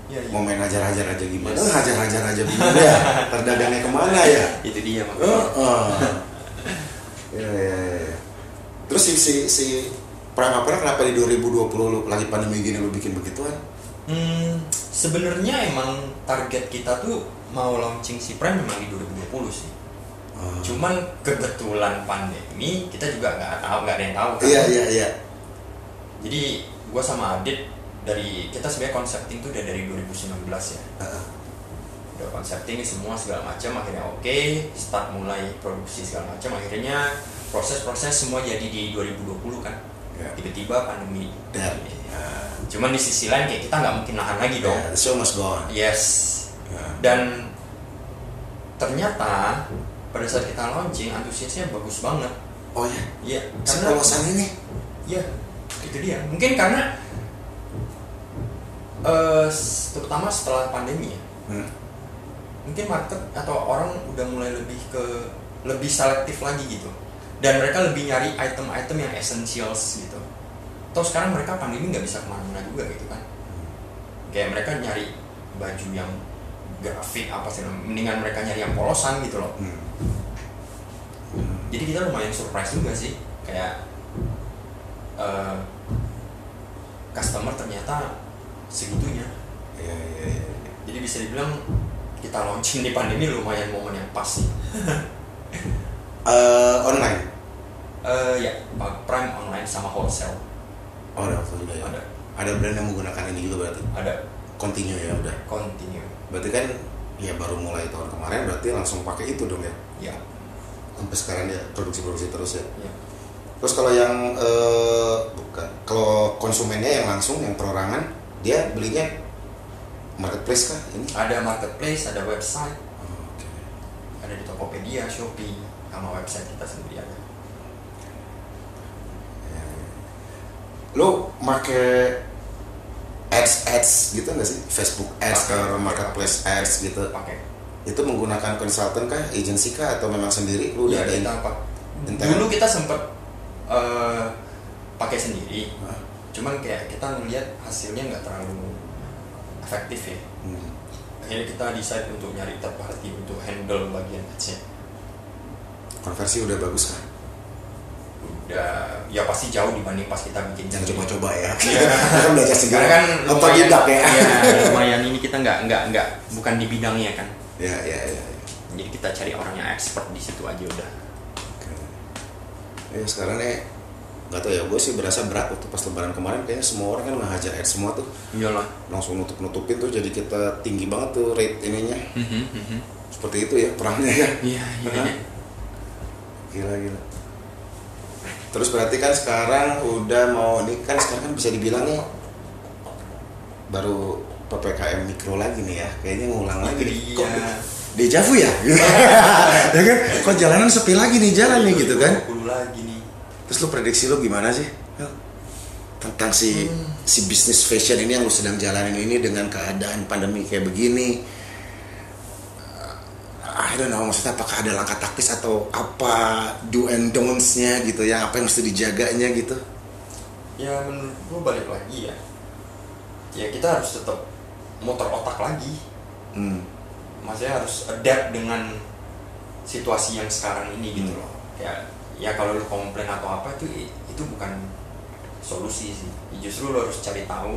[SPEAKER 1] Iya, iya.
[SPEAKER 2] mau main hajar-hajar aja gimana
[SPEAKER 1] Yes. Iya.
[SPEAKER 2] hajar-hajar aja gimana ya terdagangnya kemana ya
[SPEAKER 1] itu dia makanya
[SPEAKER 2] Heeh. ya, ya, ya. Terus si si, si perang apa kenapa di 2020 lu lagi pandemi gini lu bikin begituan?
[SPEAKER 1] Hmm, sebenarnya emang target kita tuh mau launching si Prime memang di 2020 sih.
[SPEAKER 2] Oh.
[SPEAKER 1] Cuman kebetulan pandemi kita juga nggak tahu nggak ada yang tahu kan.
[SPEAKER 2] Iya iya iya.
[SPEAKER 1] Jadi gue sama Adit dari kita sebenarnya konsepting tuh udah dari 2019 ya.
[SPEAKER 2] Heeh.
[SPEAKER 1] Udah konsepting semua segala macam akhirnya oke start mulai produksi segala macam akhirnya proses-proses semua jadi di 2020 kan.
[SPEAKER 2] Ya.
[SPEAKER 1] Tiba-tiba pandemi.
[SPEAKER 2] Dan
[SPEAKER 1] Cuman di sisi lain kayak kita nggak mungkin nahan lagi dong.
[SPEAKER 2] the show must go on.
[SPEAKER 1] Yes.
[SPEAKER 2] Nah.
[SPEAKER 1] Dan ternyata pada saat kita launching antusiasnya bagus banget.
[SPEAKER 2] Oh ya,
[SPEAKER 1] Iya,
[SPEAKER 2] si
[SPEAKER 1] karena
[SPEAKER 2] polosan ini.
[SPEAKER 1] ya itu dia. Mungkin karena eh, s- terutama setelah pandemi ya,
[SPEAKER 2] Hmm.
[SPEAKER 1] mungkin market atau orang udah mulai lebih ke lebih selektif lagi gitu. Dan mereka lebih nyari item-item yang essentials gitu. Terus sekarang mereka pandemi nggak bisa kemana-mana juga gitu kan. kayak mereka nyari baju yang grafik apa sih mendingan mereka nyari yang polosan gitu loh
[SPEAKER 2] Hmm.
[SPEAKER 1] jadi kita lumayan surprise juga sih kayak eh, customer ternyata segitunya
[SPEAKER 2] Iya iya iya.
[SPEAKER 1] jadi bisa dibilang kita launching di pandemi lumayan momen yang pas sih
[SPEAKER 2] Eh, online.
[SPEAKER 1] Eh, ya prime online sama wholesale
[SPEAKER 2] Oh, ada waktu juga ya.
[SPEAKER 1] Ada.
[SPEAKER 2] Ada brand yang menggunakan ini juga berarti.
[SPEAKER 1] ada
[SPEAKER 2] Continue ya udah.
[SPEAKER 1] continue
[SPEAKER 2] Berarti kan ya baru mulai tahun kemarin berarti langsung pakai itu dong ya.
[SPEAKER 1] ya
[SPEAKER 2] Sampai sekarang dia produksi-produksi terus ya.
[SPEAKER 1] ya
[SPEAKER 2] Terus kalau yang eh, bukan, kalau konsumennya yang langsung, yang perorangan, dia belinya marketplace kah ini?
[SPEAKER 1] ada marketplace ada website
[SPEAKER 2] Oke.
[SPEAKER 1] ada di tokopedia shopee sama website kita sendiri ada
[SPEAKER 2] Lo make ads ads gitu nggak sih? Facebook ads
[SPEAKER 1] Pakai.
[SPEAKER 2] atau marketplace ads gitu?
[SPEAKER 1] pakai
[SPEAKER 2] Itu menggunakan konsultan kah, agensi kah, atau memang sendiri? Lo udah
[SPEAKER 1] Iya,
[SPEAKER 2] ada
[SPEAKER 1] kita
[SPEAKER 2] ini?
[SPEAKER 1] pak-
[SPEAKER 2] Internet.
[SPEAKER 1] Dulu kita sempet eh, pakai sendiri,
[SPEAKER 2] Hah?
[SPEAKER 1] cuman kayak kita melihat hasilnya nggak terlalu efektif ya.
[SPEAKER 2] Hmm.
[SPEAKER 1] Akhirnya kita decide untuk nyari third party untuk handle bagian ads
[SPEAKER 2] Konversi udah bagus kah?
[SPEAKER 1] Udah, ya pasti jauh dibanding pas kita bikin
[SPEAKER 2] Jangan
[SPEAKER 1] sendiri.
[SPEAKER 2] coba-coba ya.
[SPEAKER 1] Iya.
[SPEAKER 2] Kita kan belajar segala
[SPEAKER 1] Karena kan
[SPEAKER 2] otodidak ya.
[SPEAKER 1] iya, lumayan ini kita nggak nggak nggak bukan di bidangnya kan.
[SPEAKER 2] Ya ya ya. ya.
[SPEAKER 1] Jadi kita cari orang yang expert di situ aja udah.
[SPEAKER 2] Ya sekarang nih nggak tau ya gue sih berasa berat waktu pas lebaran kemarin kayaknya semua orang kan ngehajar ads semua tuh
[SPEAKER 1] Iyalah.
[SPEAKER 2] langsung nutup nutupin tuh jadi kita tinggi banget tuh rate ininya
[SPEAKER 1] Mhm, mhm.
[SPEAKER 2] seperti itu ya perangnya ya
[SPEAKER 1] Iya, iya.
[SPEAKER 2] Hah?
[SPEAKER 1] iya.
[SPEAKER 2] gila gila terus berarti kan sekarang udah mau ini kan sekarang kan bisa dibilang nih baru ppkm mikro lagi nih ya kayaknya ngulang lagi nih.
[SPEAKER 1] Itu dia.
[SPEAKER 2] dejavu ya ya kan kok jalanan sepi lagi nih jalan nih gitu kan
[SPEAKER 1] 20 lagi nih.
[SPEAKER 2] Terus lu prediksi lu gimana sih? Hel? Tentang si si bisnis fashion ini yang lu sedang jalanin ini dengan keadaan pandemi kayak begini. Ah, I don't know, maksudnya apakah ada langkah taktis atau apa do and don'ts-nya gitu ya, apa yang mesti dijaganya gitu.
[SPEAKER 1] ya menurut gue balik lagi ya ya kita harus tetap muter otak lagi
[SPEAKER 2] Hmm.
[SPEAKER 1] maksudnya harus adapt dengan situasi yang sekarang ini gitu
[SPEAKER 2] Hmm.
[SPEAKER 1] loh ya ya kalau lu komplain atau apa itu itu bukan solusi sih Ya, justru lu harus cari tahu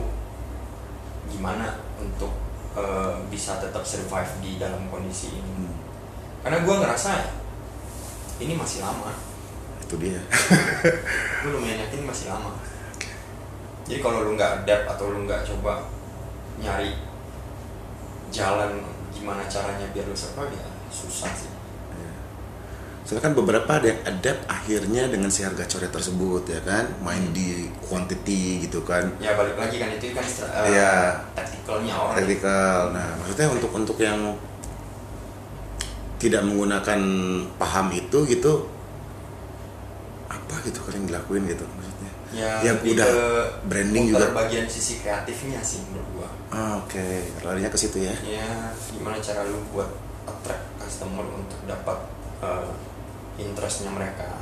[SPEAKER 1] gimana untuk eh, bisa tetap survive di dalam kondisi ini
[SPEAKER 2] Hmm,
[SPEAKER 1] karena gue ngerasa ini masih lama
[SPEAKER 2] itu dia.
[SPEAKER 1] gue lumayan yakin masih lama jadi kalau lu nggak adapt atau lu nggak coba nyari jalan gimana caranya biar lu survive ya susah sih
[SPEAKER 2] Soalnya kan beberapa ada yang adapt akhirnya dengan si harga coret tersebut ya kan, main di quantity gitu kan.
[SPEAKER 1] ya balik lagi kan itu kan eh,
[SPEAKER 2] Iya.
[SPEAKER 1] tacticalnya orang
[SPEAKER 2] Tactical. Nah, maksudnya untuk untuk yang tidak menggunakan paham itu gitu apa gitu kalian dilakuin gitu maksudnya.
[SPEAKER 1] ya,
[SPEAKER 2] Ya,
[SPEAKER 1] lebih
[SPEAKER 2] udah.
[SPEAKER 1] ke
[SPEAKER 2] Branding
[SPEAKER 1] muter
[SPEAKER 2] juga.
[SPEAKER 1] bagian sisi kreatifnya sih menurut gua
[SPEAKER 2] Ah, Oke, larinya ke situ ya.
[SPEAKER 1] ya gimana cara lu buat attract customer untuk dapat eh, interestnya mereka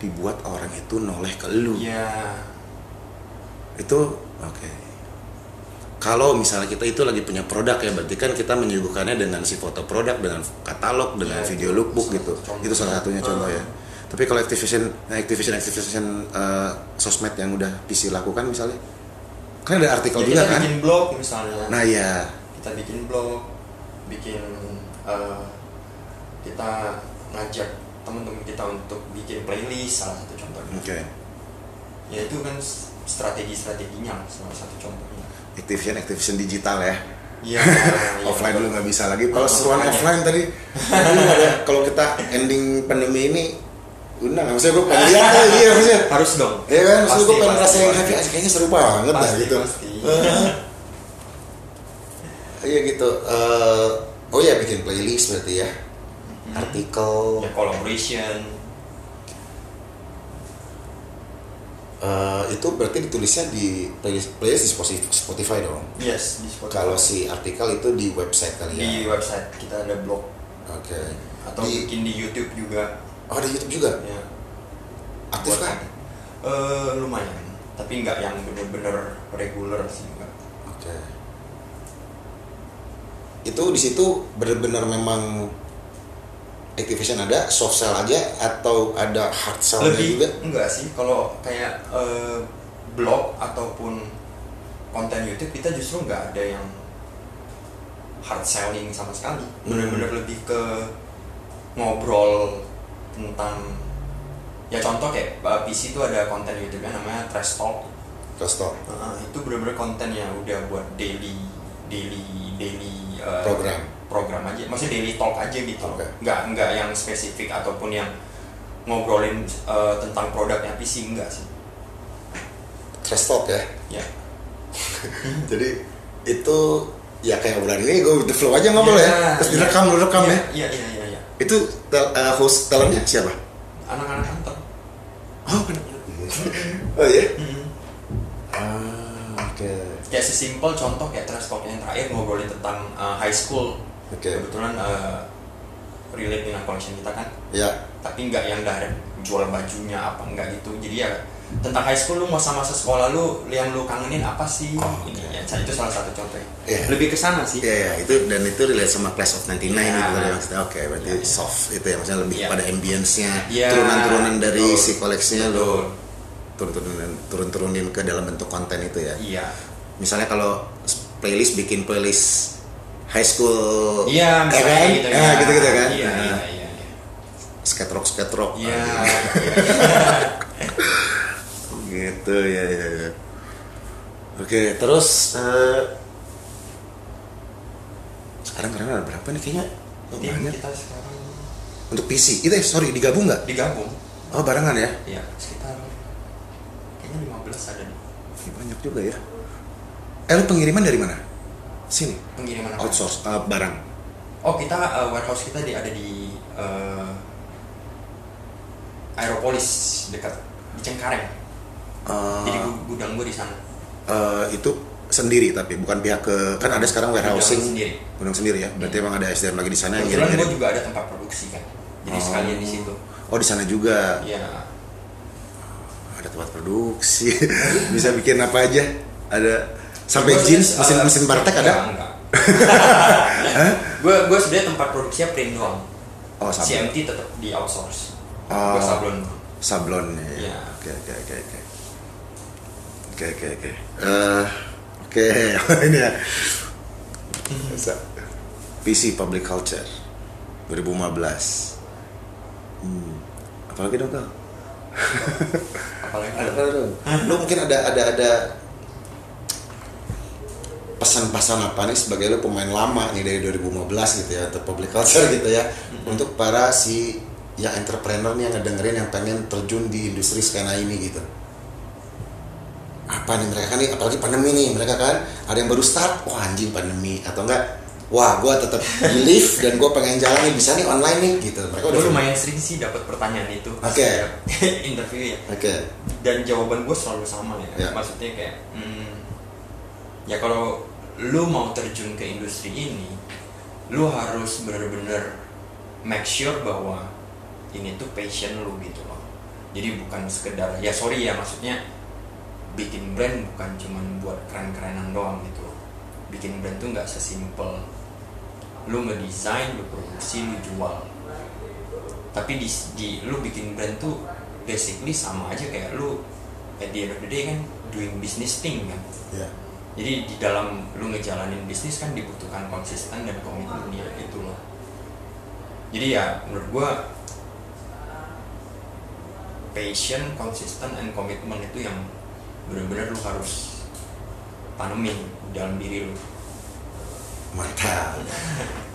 [SPEAKER 2] Dibuat orang itu noleh ke lu.
[SPEAKER 1] ya
[SPEAKER 2] itu oke kalau misalnya kita itu lagi punya produk ya berarti kan kita menyuguhkannya dengan si foto produk dengan katalog dengan
[SPEAKER 1] Ya,
[SPEAKER 2] video
[SPEAKER 1] itu
[SPEAKER 2] lookbook
[SPEAKER 1] salah satu
[SPEAKER 2] gitu
[SPEAKER 1] contoh. Ah.
[SPEAKER 2] itu salah satunya contoh ya tapi kalau activation activation activation eh, sosmed yang udah PC lakukan misalnya kan ada artikel
[SPEAKER 1] Ya,
[SPEAKER 2] juga
[SPEAKER 1] kita
[SPEAKER 2] kan
[SPEAKER 1] bikin blog misalnya
[SPEAKER 2] nah ya
[SPEAKER 1] kita bikin blog bikin eh, kita ngajak teman-teman kita untuk bikin playlist salah satu contohnya
[SPEAKER 2] oke
[SPEAKER 1] ya itu kan s- strategi-strateginya salah satu contohnya
[SPEAKER 2] activation activation digital ya
[SPEAKER 1] ya,
[SPEAKER 2] offline dulu nggak bisa lagi kalau
[SPEAKER 1] Nah,
[SPEAKER 2] seruan
[SPEAKER 1] makanya.
[SPEAKER 2] offline tadi aduh, nggak ada. kalau kita ending pandemi ini undang maksudnya gue pengen lihat tuh, iya maksudnya
[SPEAKER 1] Eh, harus dong
[SPEAKER 2] Ya kan, maksud
[SPEAKER 1] Pasti,
[SPEAKER 2] gue
[SPEAKER 1] pasti,
[SPEAKER 2] pengen ngerasa yang
[SPEAKER 1] pasti.
[SPEAKER 2] happy, ah, kayaknya seru banget dah
[SPEAKER 1] Pasti,
[SPEAKER 2] gitu.
[SPEAKER 1] pasti.
[SPEAKER 2] Eh, Iya gitu. Eh, oh ya bikin playlist berarti ya. Artikel
[SPEAKER 1] ya collaboration
[SPEAKER 2] eh, itu berarti ditulisnya di playlist, playlist di Spotify, Spotify dong.
[SPEAKER 1] yes di Spotify.
[SPEAKER 2] Kalau si artikel itu di website kali ya.
[SPEAKER 1] di website kita ada blog
[SPEAKER 2] Oke.
[SPEAKER 1] atau
[SPEAKER 2] Di-
[SPEAKER 1] bikin di YouTube juga
[SPEAKER 2] oh di YouTube juga.
[SPEAKER 1] ya
[SPEAKER 2] Aktif
[SPEAKER 1] Buat-
[SPEAKER 2] kan?
[SPEAKER 1] Eh, lumayan tapi nggak yang bener-bener reguler sih enggak
[SPEAKER 2] Oke. Itu di situ benar-benar memang activation ada, soft sell aja atau ada hard sell
[SPEAKER 1] lebih
[SPEAKER 2] juga?
[SPEAKER 1] enggak sih kalau kayak eh, blog ataupun konten YouTube kita justru nggak ada yang hard selling sama sekali bener-bener lebih ke ngobrol tentang ya contoh kayak eh, PC itu ada konten YouTube nya namanya Trash Talk
[SPEAKER 2] Terus toh,
[SPEAKER 1] Nah, itu bener-bener konten yang udah buat daily daily daily eh,
[SPEAKER 2] program.
[SPEAKER 1] program aja maksudnya daily talk aja gitu loh.
[SPEAKER 2] Oke.
[SPEAKER 1] nggak nggak yang spesifik ataupun yang ngobrolin eh, tentang produknya PC enggak sih
[SPEAKER 2] Trash talk ya.
[SPEAKER 1] ya
[SPEAKER 2] Jadi itu ya kayak obrolan ini gue the flow aja ngobrol ya. Terus direkam, lu rekam ya.
[SPEAKER 1] iya iya iya iya
[SPEAKER 2] Itu tel- eh, host talentnya siapa?
[SPEAKER 1] anak-anak kantor
[SPEAKER 2] Oh, oh ya.
[SPEAKER 1] Hmm.
[SPEAKER 2] Ah, oke.
[SPEAKER 1] kayak sesimpel contoh kayak trash talk yang terakhir ngobrolin tentang eh, high school
[SPEAKER 2] Oke.
[SPEAKER 1] kebetulan eh, relate dengan collection kita kan
[SPEAKER 2] Ya,
[SPEAKER 1] tapi nggak yang direct jual bajunya apa nggak gitu jadi ya tentang high school lu masa-masa sekolah lu yang lu kangenin apa sih
[SPEAKER 2] Oh,
[SPEAKER 1] ini ya itu salah satu contohnya
[SPEAKER 2] Iya.
[SPEAKER 1] lebih ke sana sih
[SPEAKER 2] Iya, ya, itu dan itu relate sama Class of 99
[SPEAKER 1] Iya.
[SPEAKER 2] gitu kan maksudnya. Oke, berarti
[SPEAKER 1] Iya.
[SPEAKER 2] soft itu ya maksudnya lebih
[SPEAKER 1] Iya.
[SPEAKER 2] pada ambience-nya,
[SPEAKER 1] Iya,
[SPEAKER 2] turunan-turunan dari
[SPEAKER 1] betul.
[SPEAKER 2] si koleksinya lo
[SPEAKER 1] Betul.
[SPEAKER 2] turun-turunin turun-turunin ke dalam bentuk konten itu ya.
[SPEAKER 1] iya
[SPEAKER 2] Misalnya kalau playlist bikin playlist high school
[SPEAKER 1] iya
[SPEAKER 2] ya
[SPEAKER 1] misalnya
[SPEAKER 2] kan?
[SPEAKER 1] gitu,
[SPEAKER 2] Nah,
[SPEAKER 1] iya.
[SPEAKER 2] gitu-gitu kan.
[SPEAKER 1] iya
[SPEAKER 2] Nah,
[SPEAKER 1] iya iya iya.
[SPEAKER 2] skate rock skate rock.
[SPEAKER 1] iya
[SPEAKER 2] Nah, gitu ya ya ya. Oke, terus eh, sekarang karena ada berapa nih kayaknya? Oh,
[SPEAKER 1] tim
[SPEAKER 2] Banyak.
[SPEAKER 1] kita sekarang
[SPEAKER 2] Untuk PC. Itu eh, sorry digabung nggak?
[SPEAKER 1] digabung
[SPEAKER 2] Oh barengan ya?
[SPEAKER 1] ya sekitar kayaknya 15 ada nih
[SPEAKER 2] Ih, banyak juga ya. Eh lu pengiriman dari mana? Sini.
[SPEAKER 1] pengiriman apa?
[SPEAKER 2] Outsource eh, barang.
[SPEAKER 1] oh kita eh, warehouse kita di, ada di eh, Aeropolis dekat di Cengkareng
[SPEAKER 2] Eh,
[SPEAKER 1] jadi gu- gudang gue di sana
[SPEAKER 2] eh, itu sendiri tapi bukan pihak ke kan ada sekarang warehousing
[SPEAKER 1] Gudang sendiri. Iya.
[SPEAKER 2] gudang sendiri ya berarti emang ada SDM lagi di sana yang
[SPEAKER 1] kebetulan gue
[SPEAKER 2] ngirim-ngirim.
[SPEAKER 1] juga ada tempat produksi kan jadi
[SPEAKER 2] Oh.
[SPEAKER 1] sekalian di situ
[SPEAKER 2] oh di sana juga
[SPEAKER 1] ya Iya.
[SPEAKER 2] ada tempat produksi bisa bikin apa aja ada sampai jeans
[SPEAKER 1] eh,
[SPEAKER 2] mesin mesin bartek ada
[SPEAKER 1] gue gue sebenarnya tempat produksinya print doang
[SPEAKER 2] oh sablon
[SPEAKER 1] CMT tetap di outsource
[SPEAKER 2] Oh.
[SPEAKER 1] gue sablon
[SPEAKER 2] sablon ya
[SPEAKER 1] Iya.
[SPEAKER 2] oke oke oke oke oke oke oke Eh, oke ini ya Sa- PC Public Culture 2015 hmm. apalagi dong kau
[SPEAKER 1] apalagi
[SPEAKER 2] Ada apa dong? Lu mungkin ada ada ada pesan-pesan apa nih sebagai lo pemain lama nih dari 2015 gitu ya untuk public culture gitu ya untuk para si yang entrepreneur nih yang ngedengerin yang pengen terjun di industri skena ini gitu apa nih mereka kan nih apalagi pandemi nih mereka kan ada yang baru start wah anjing pandemi atau enggak wah gue tetap believe dan gue pengen jalan nih bisa nih online nih gitu mereka udah
[SPEAKER 1] gue lumayan sering sih dapat pertanyaan itu pas
[SPEAKER 2] Oke.
[SPEAKER 1] setiap interview ya
[SPEAKER 2] oke
[SPEAKER 1] dan jawaban gue selalu sama ya
[SPEAKER 2] Ya.
[SPEAKER 1] maksudnya kayak hmm, ya kalau lu mau terjun ke industri ini lu harus bener-bener make sure bahwa ini tuh passion lu gitu loh jadi bukan sekedar ya sorry ya maksudnya bikin brand bukan cuman buat keren-kerenan doang gitu loh bikin brand tuh nggak sesimpel lu ngedesain lu produksi lu jual tapi di, di lu bikin brand tuh basically sama aja kayak lu at the end of the day kan doing business thing kan
[SPEAKER 2] ya
[SPEAKER 1] jadi di dalam lu ngejalanin bisnis kan dibutuhkan konsisten dan komitmen ya itu loh jadi ya menurut gua passion konsisten and komitmen itu yang bener-bener lu harus tanemin dalam diri lu
[SPEAKER 2] Mantap.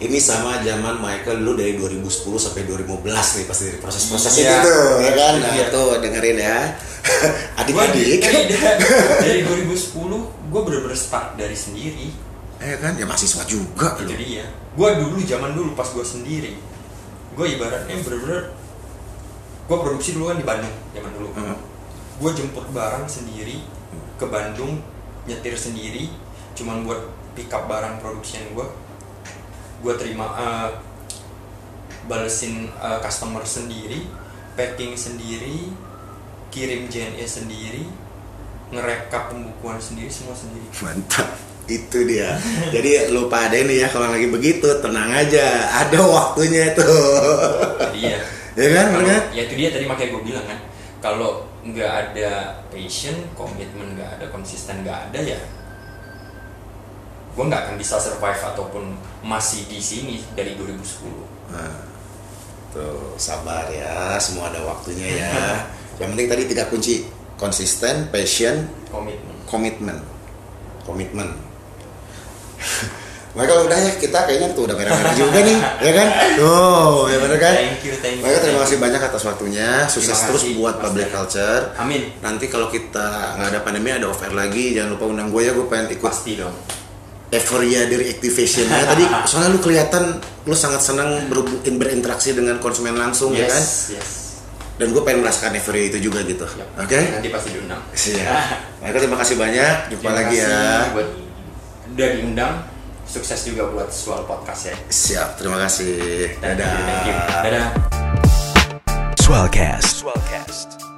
[SPEAKER 2] Ini sama zaman Michael dulu dari 2010 sampai 2015 nih pasti dari proses-proses
[SPEAKER 1] Iya.
[SPEAKER 2] itu tuh, ya kan? Nah,
[SPEAKER 1] Iya.
[SPEAKER 2] itu dengerin ya. Adik-adik.
[SPEAKER 1] Gua di- dari 2010 gue bener-bener start dari sendiri
[SPEAKER 2] Ya kan? Ya mahasiswa juga
[SPEAKER 1] itu
[SPEAKER 2] loh.
[SPEAKER 1] dia gue ya, dulu zaman dulu pas gue sendiri gue ibaratnya bener-bener gue produksi dulu kan di Bandung zaman dulu
[SPEAKER 2] Hmm.
[SPEAKER 1] gue jemput barang sendiri ke Bandung nyetir sendiri cuman buat pick up barang production gue gue terima eh, balesin eh, customer sendiri packing sendiri kirim JNE sendiri ngerekap pembukuan sendiri semua sendiri
[SPEAKER 2] Mantap. Itu dia. Jadi lupa ada ini ya kalau lagi begitu, tenang aja. Ada waktunya itu.
[SPEAKER 1] jadi ya
[SPEAKER 2] ya kan?
[SPEAKER 1] Kalau-
[SPEAKER 2] Bener kan?
[SPEAKER 1] ya itu dia tadi makanya gue bilang kan kalau nggak ada passion komitmen nggak ada konsisten nggak ada ya gue nggak akan bisa survive ataupun masih di sini dari 2010
[SPEAKER 2] Nah, tuh sabar ya, semua ada waktunya ya. Yang penting tadi tiga kunci konsisten, passion,
[SPEAKER 1] komitmen
[SPEAKER 2] komitmen komitmen Michael udah ya kita kayaknya tuh udah merah-merah juga nih ya kan tuh ya bener kan
[SPEAKER 1] thank you thank you
[SPEAKER 2] Michael terima kasih
[SPEAKER 1] thank you.
[SPEAKER 2] banyak atas waktunya sukses
[SPEAKER 1] Terima
[SPEAKER 2] terus
[SPEAKER 1] kasih,
[SPEAKER 2] buat
[SPEAKER 1] Mas
[SPEAKER 2] public
[SPEAKER 1] Dara.
[SPEAKER 2] culture
[SPEAKER 1] amin
[SPEAKER 2] nanti kalau kita nggak ada pandemi ada off air lagi jangan lupa undang gue ya gue pengen ikut
[SPEAKER 1] pasti dong
[SPEAKER 2] Euphoria dari activation ya tadi soalnya lu kelihatan lu sangat senang berbu- berinteraksi dengan konsumen langsung ya kan
[SPEAKER 1] yes yes
[SPEAKER 2] dan gue pengen merasakan euphoria itu juga gitu
[SPEAKER 1] Yap.
[SPEAKER 2] oke
[SPEAKER 1] nanti pasti diundang
[SPEAKER 2] siap Michael terima kasih banyak jumpa
[SPEAKER 1] Terima
[SPEAKER 2] lagi
[SPEAKER 1] kasih
[SPEAKER 2] ya
[SPEAKER 1] buat udah diundang sukses juga buat soal podcast ya
[SPEAKER 2] Siap, terima kasih.
[SPEAKER 1] Thank you,
[SPEAKER 2] Dadah.
[SPEAKER 1] thank you. dadah
[SPEAKER 3] Swellcast. Swellcast.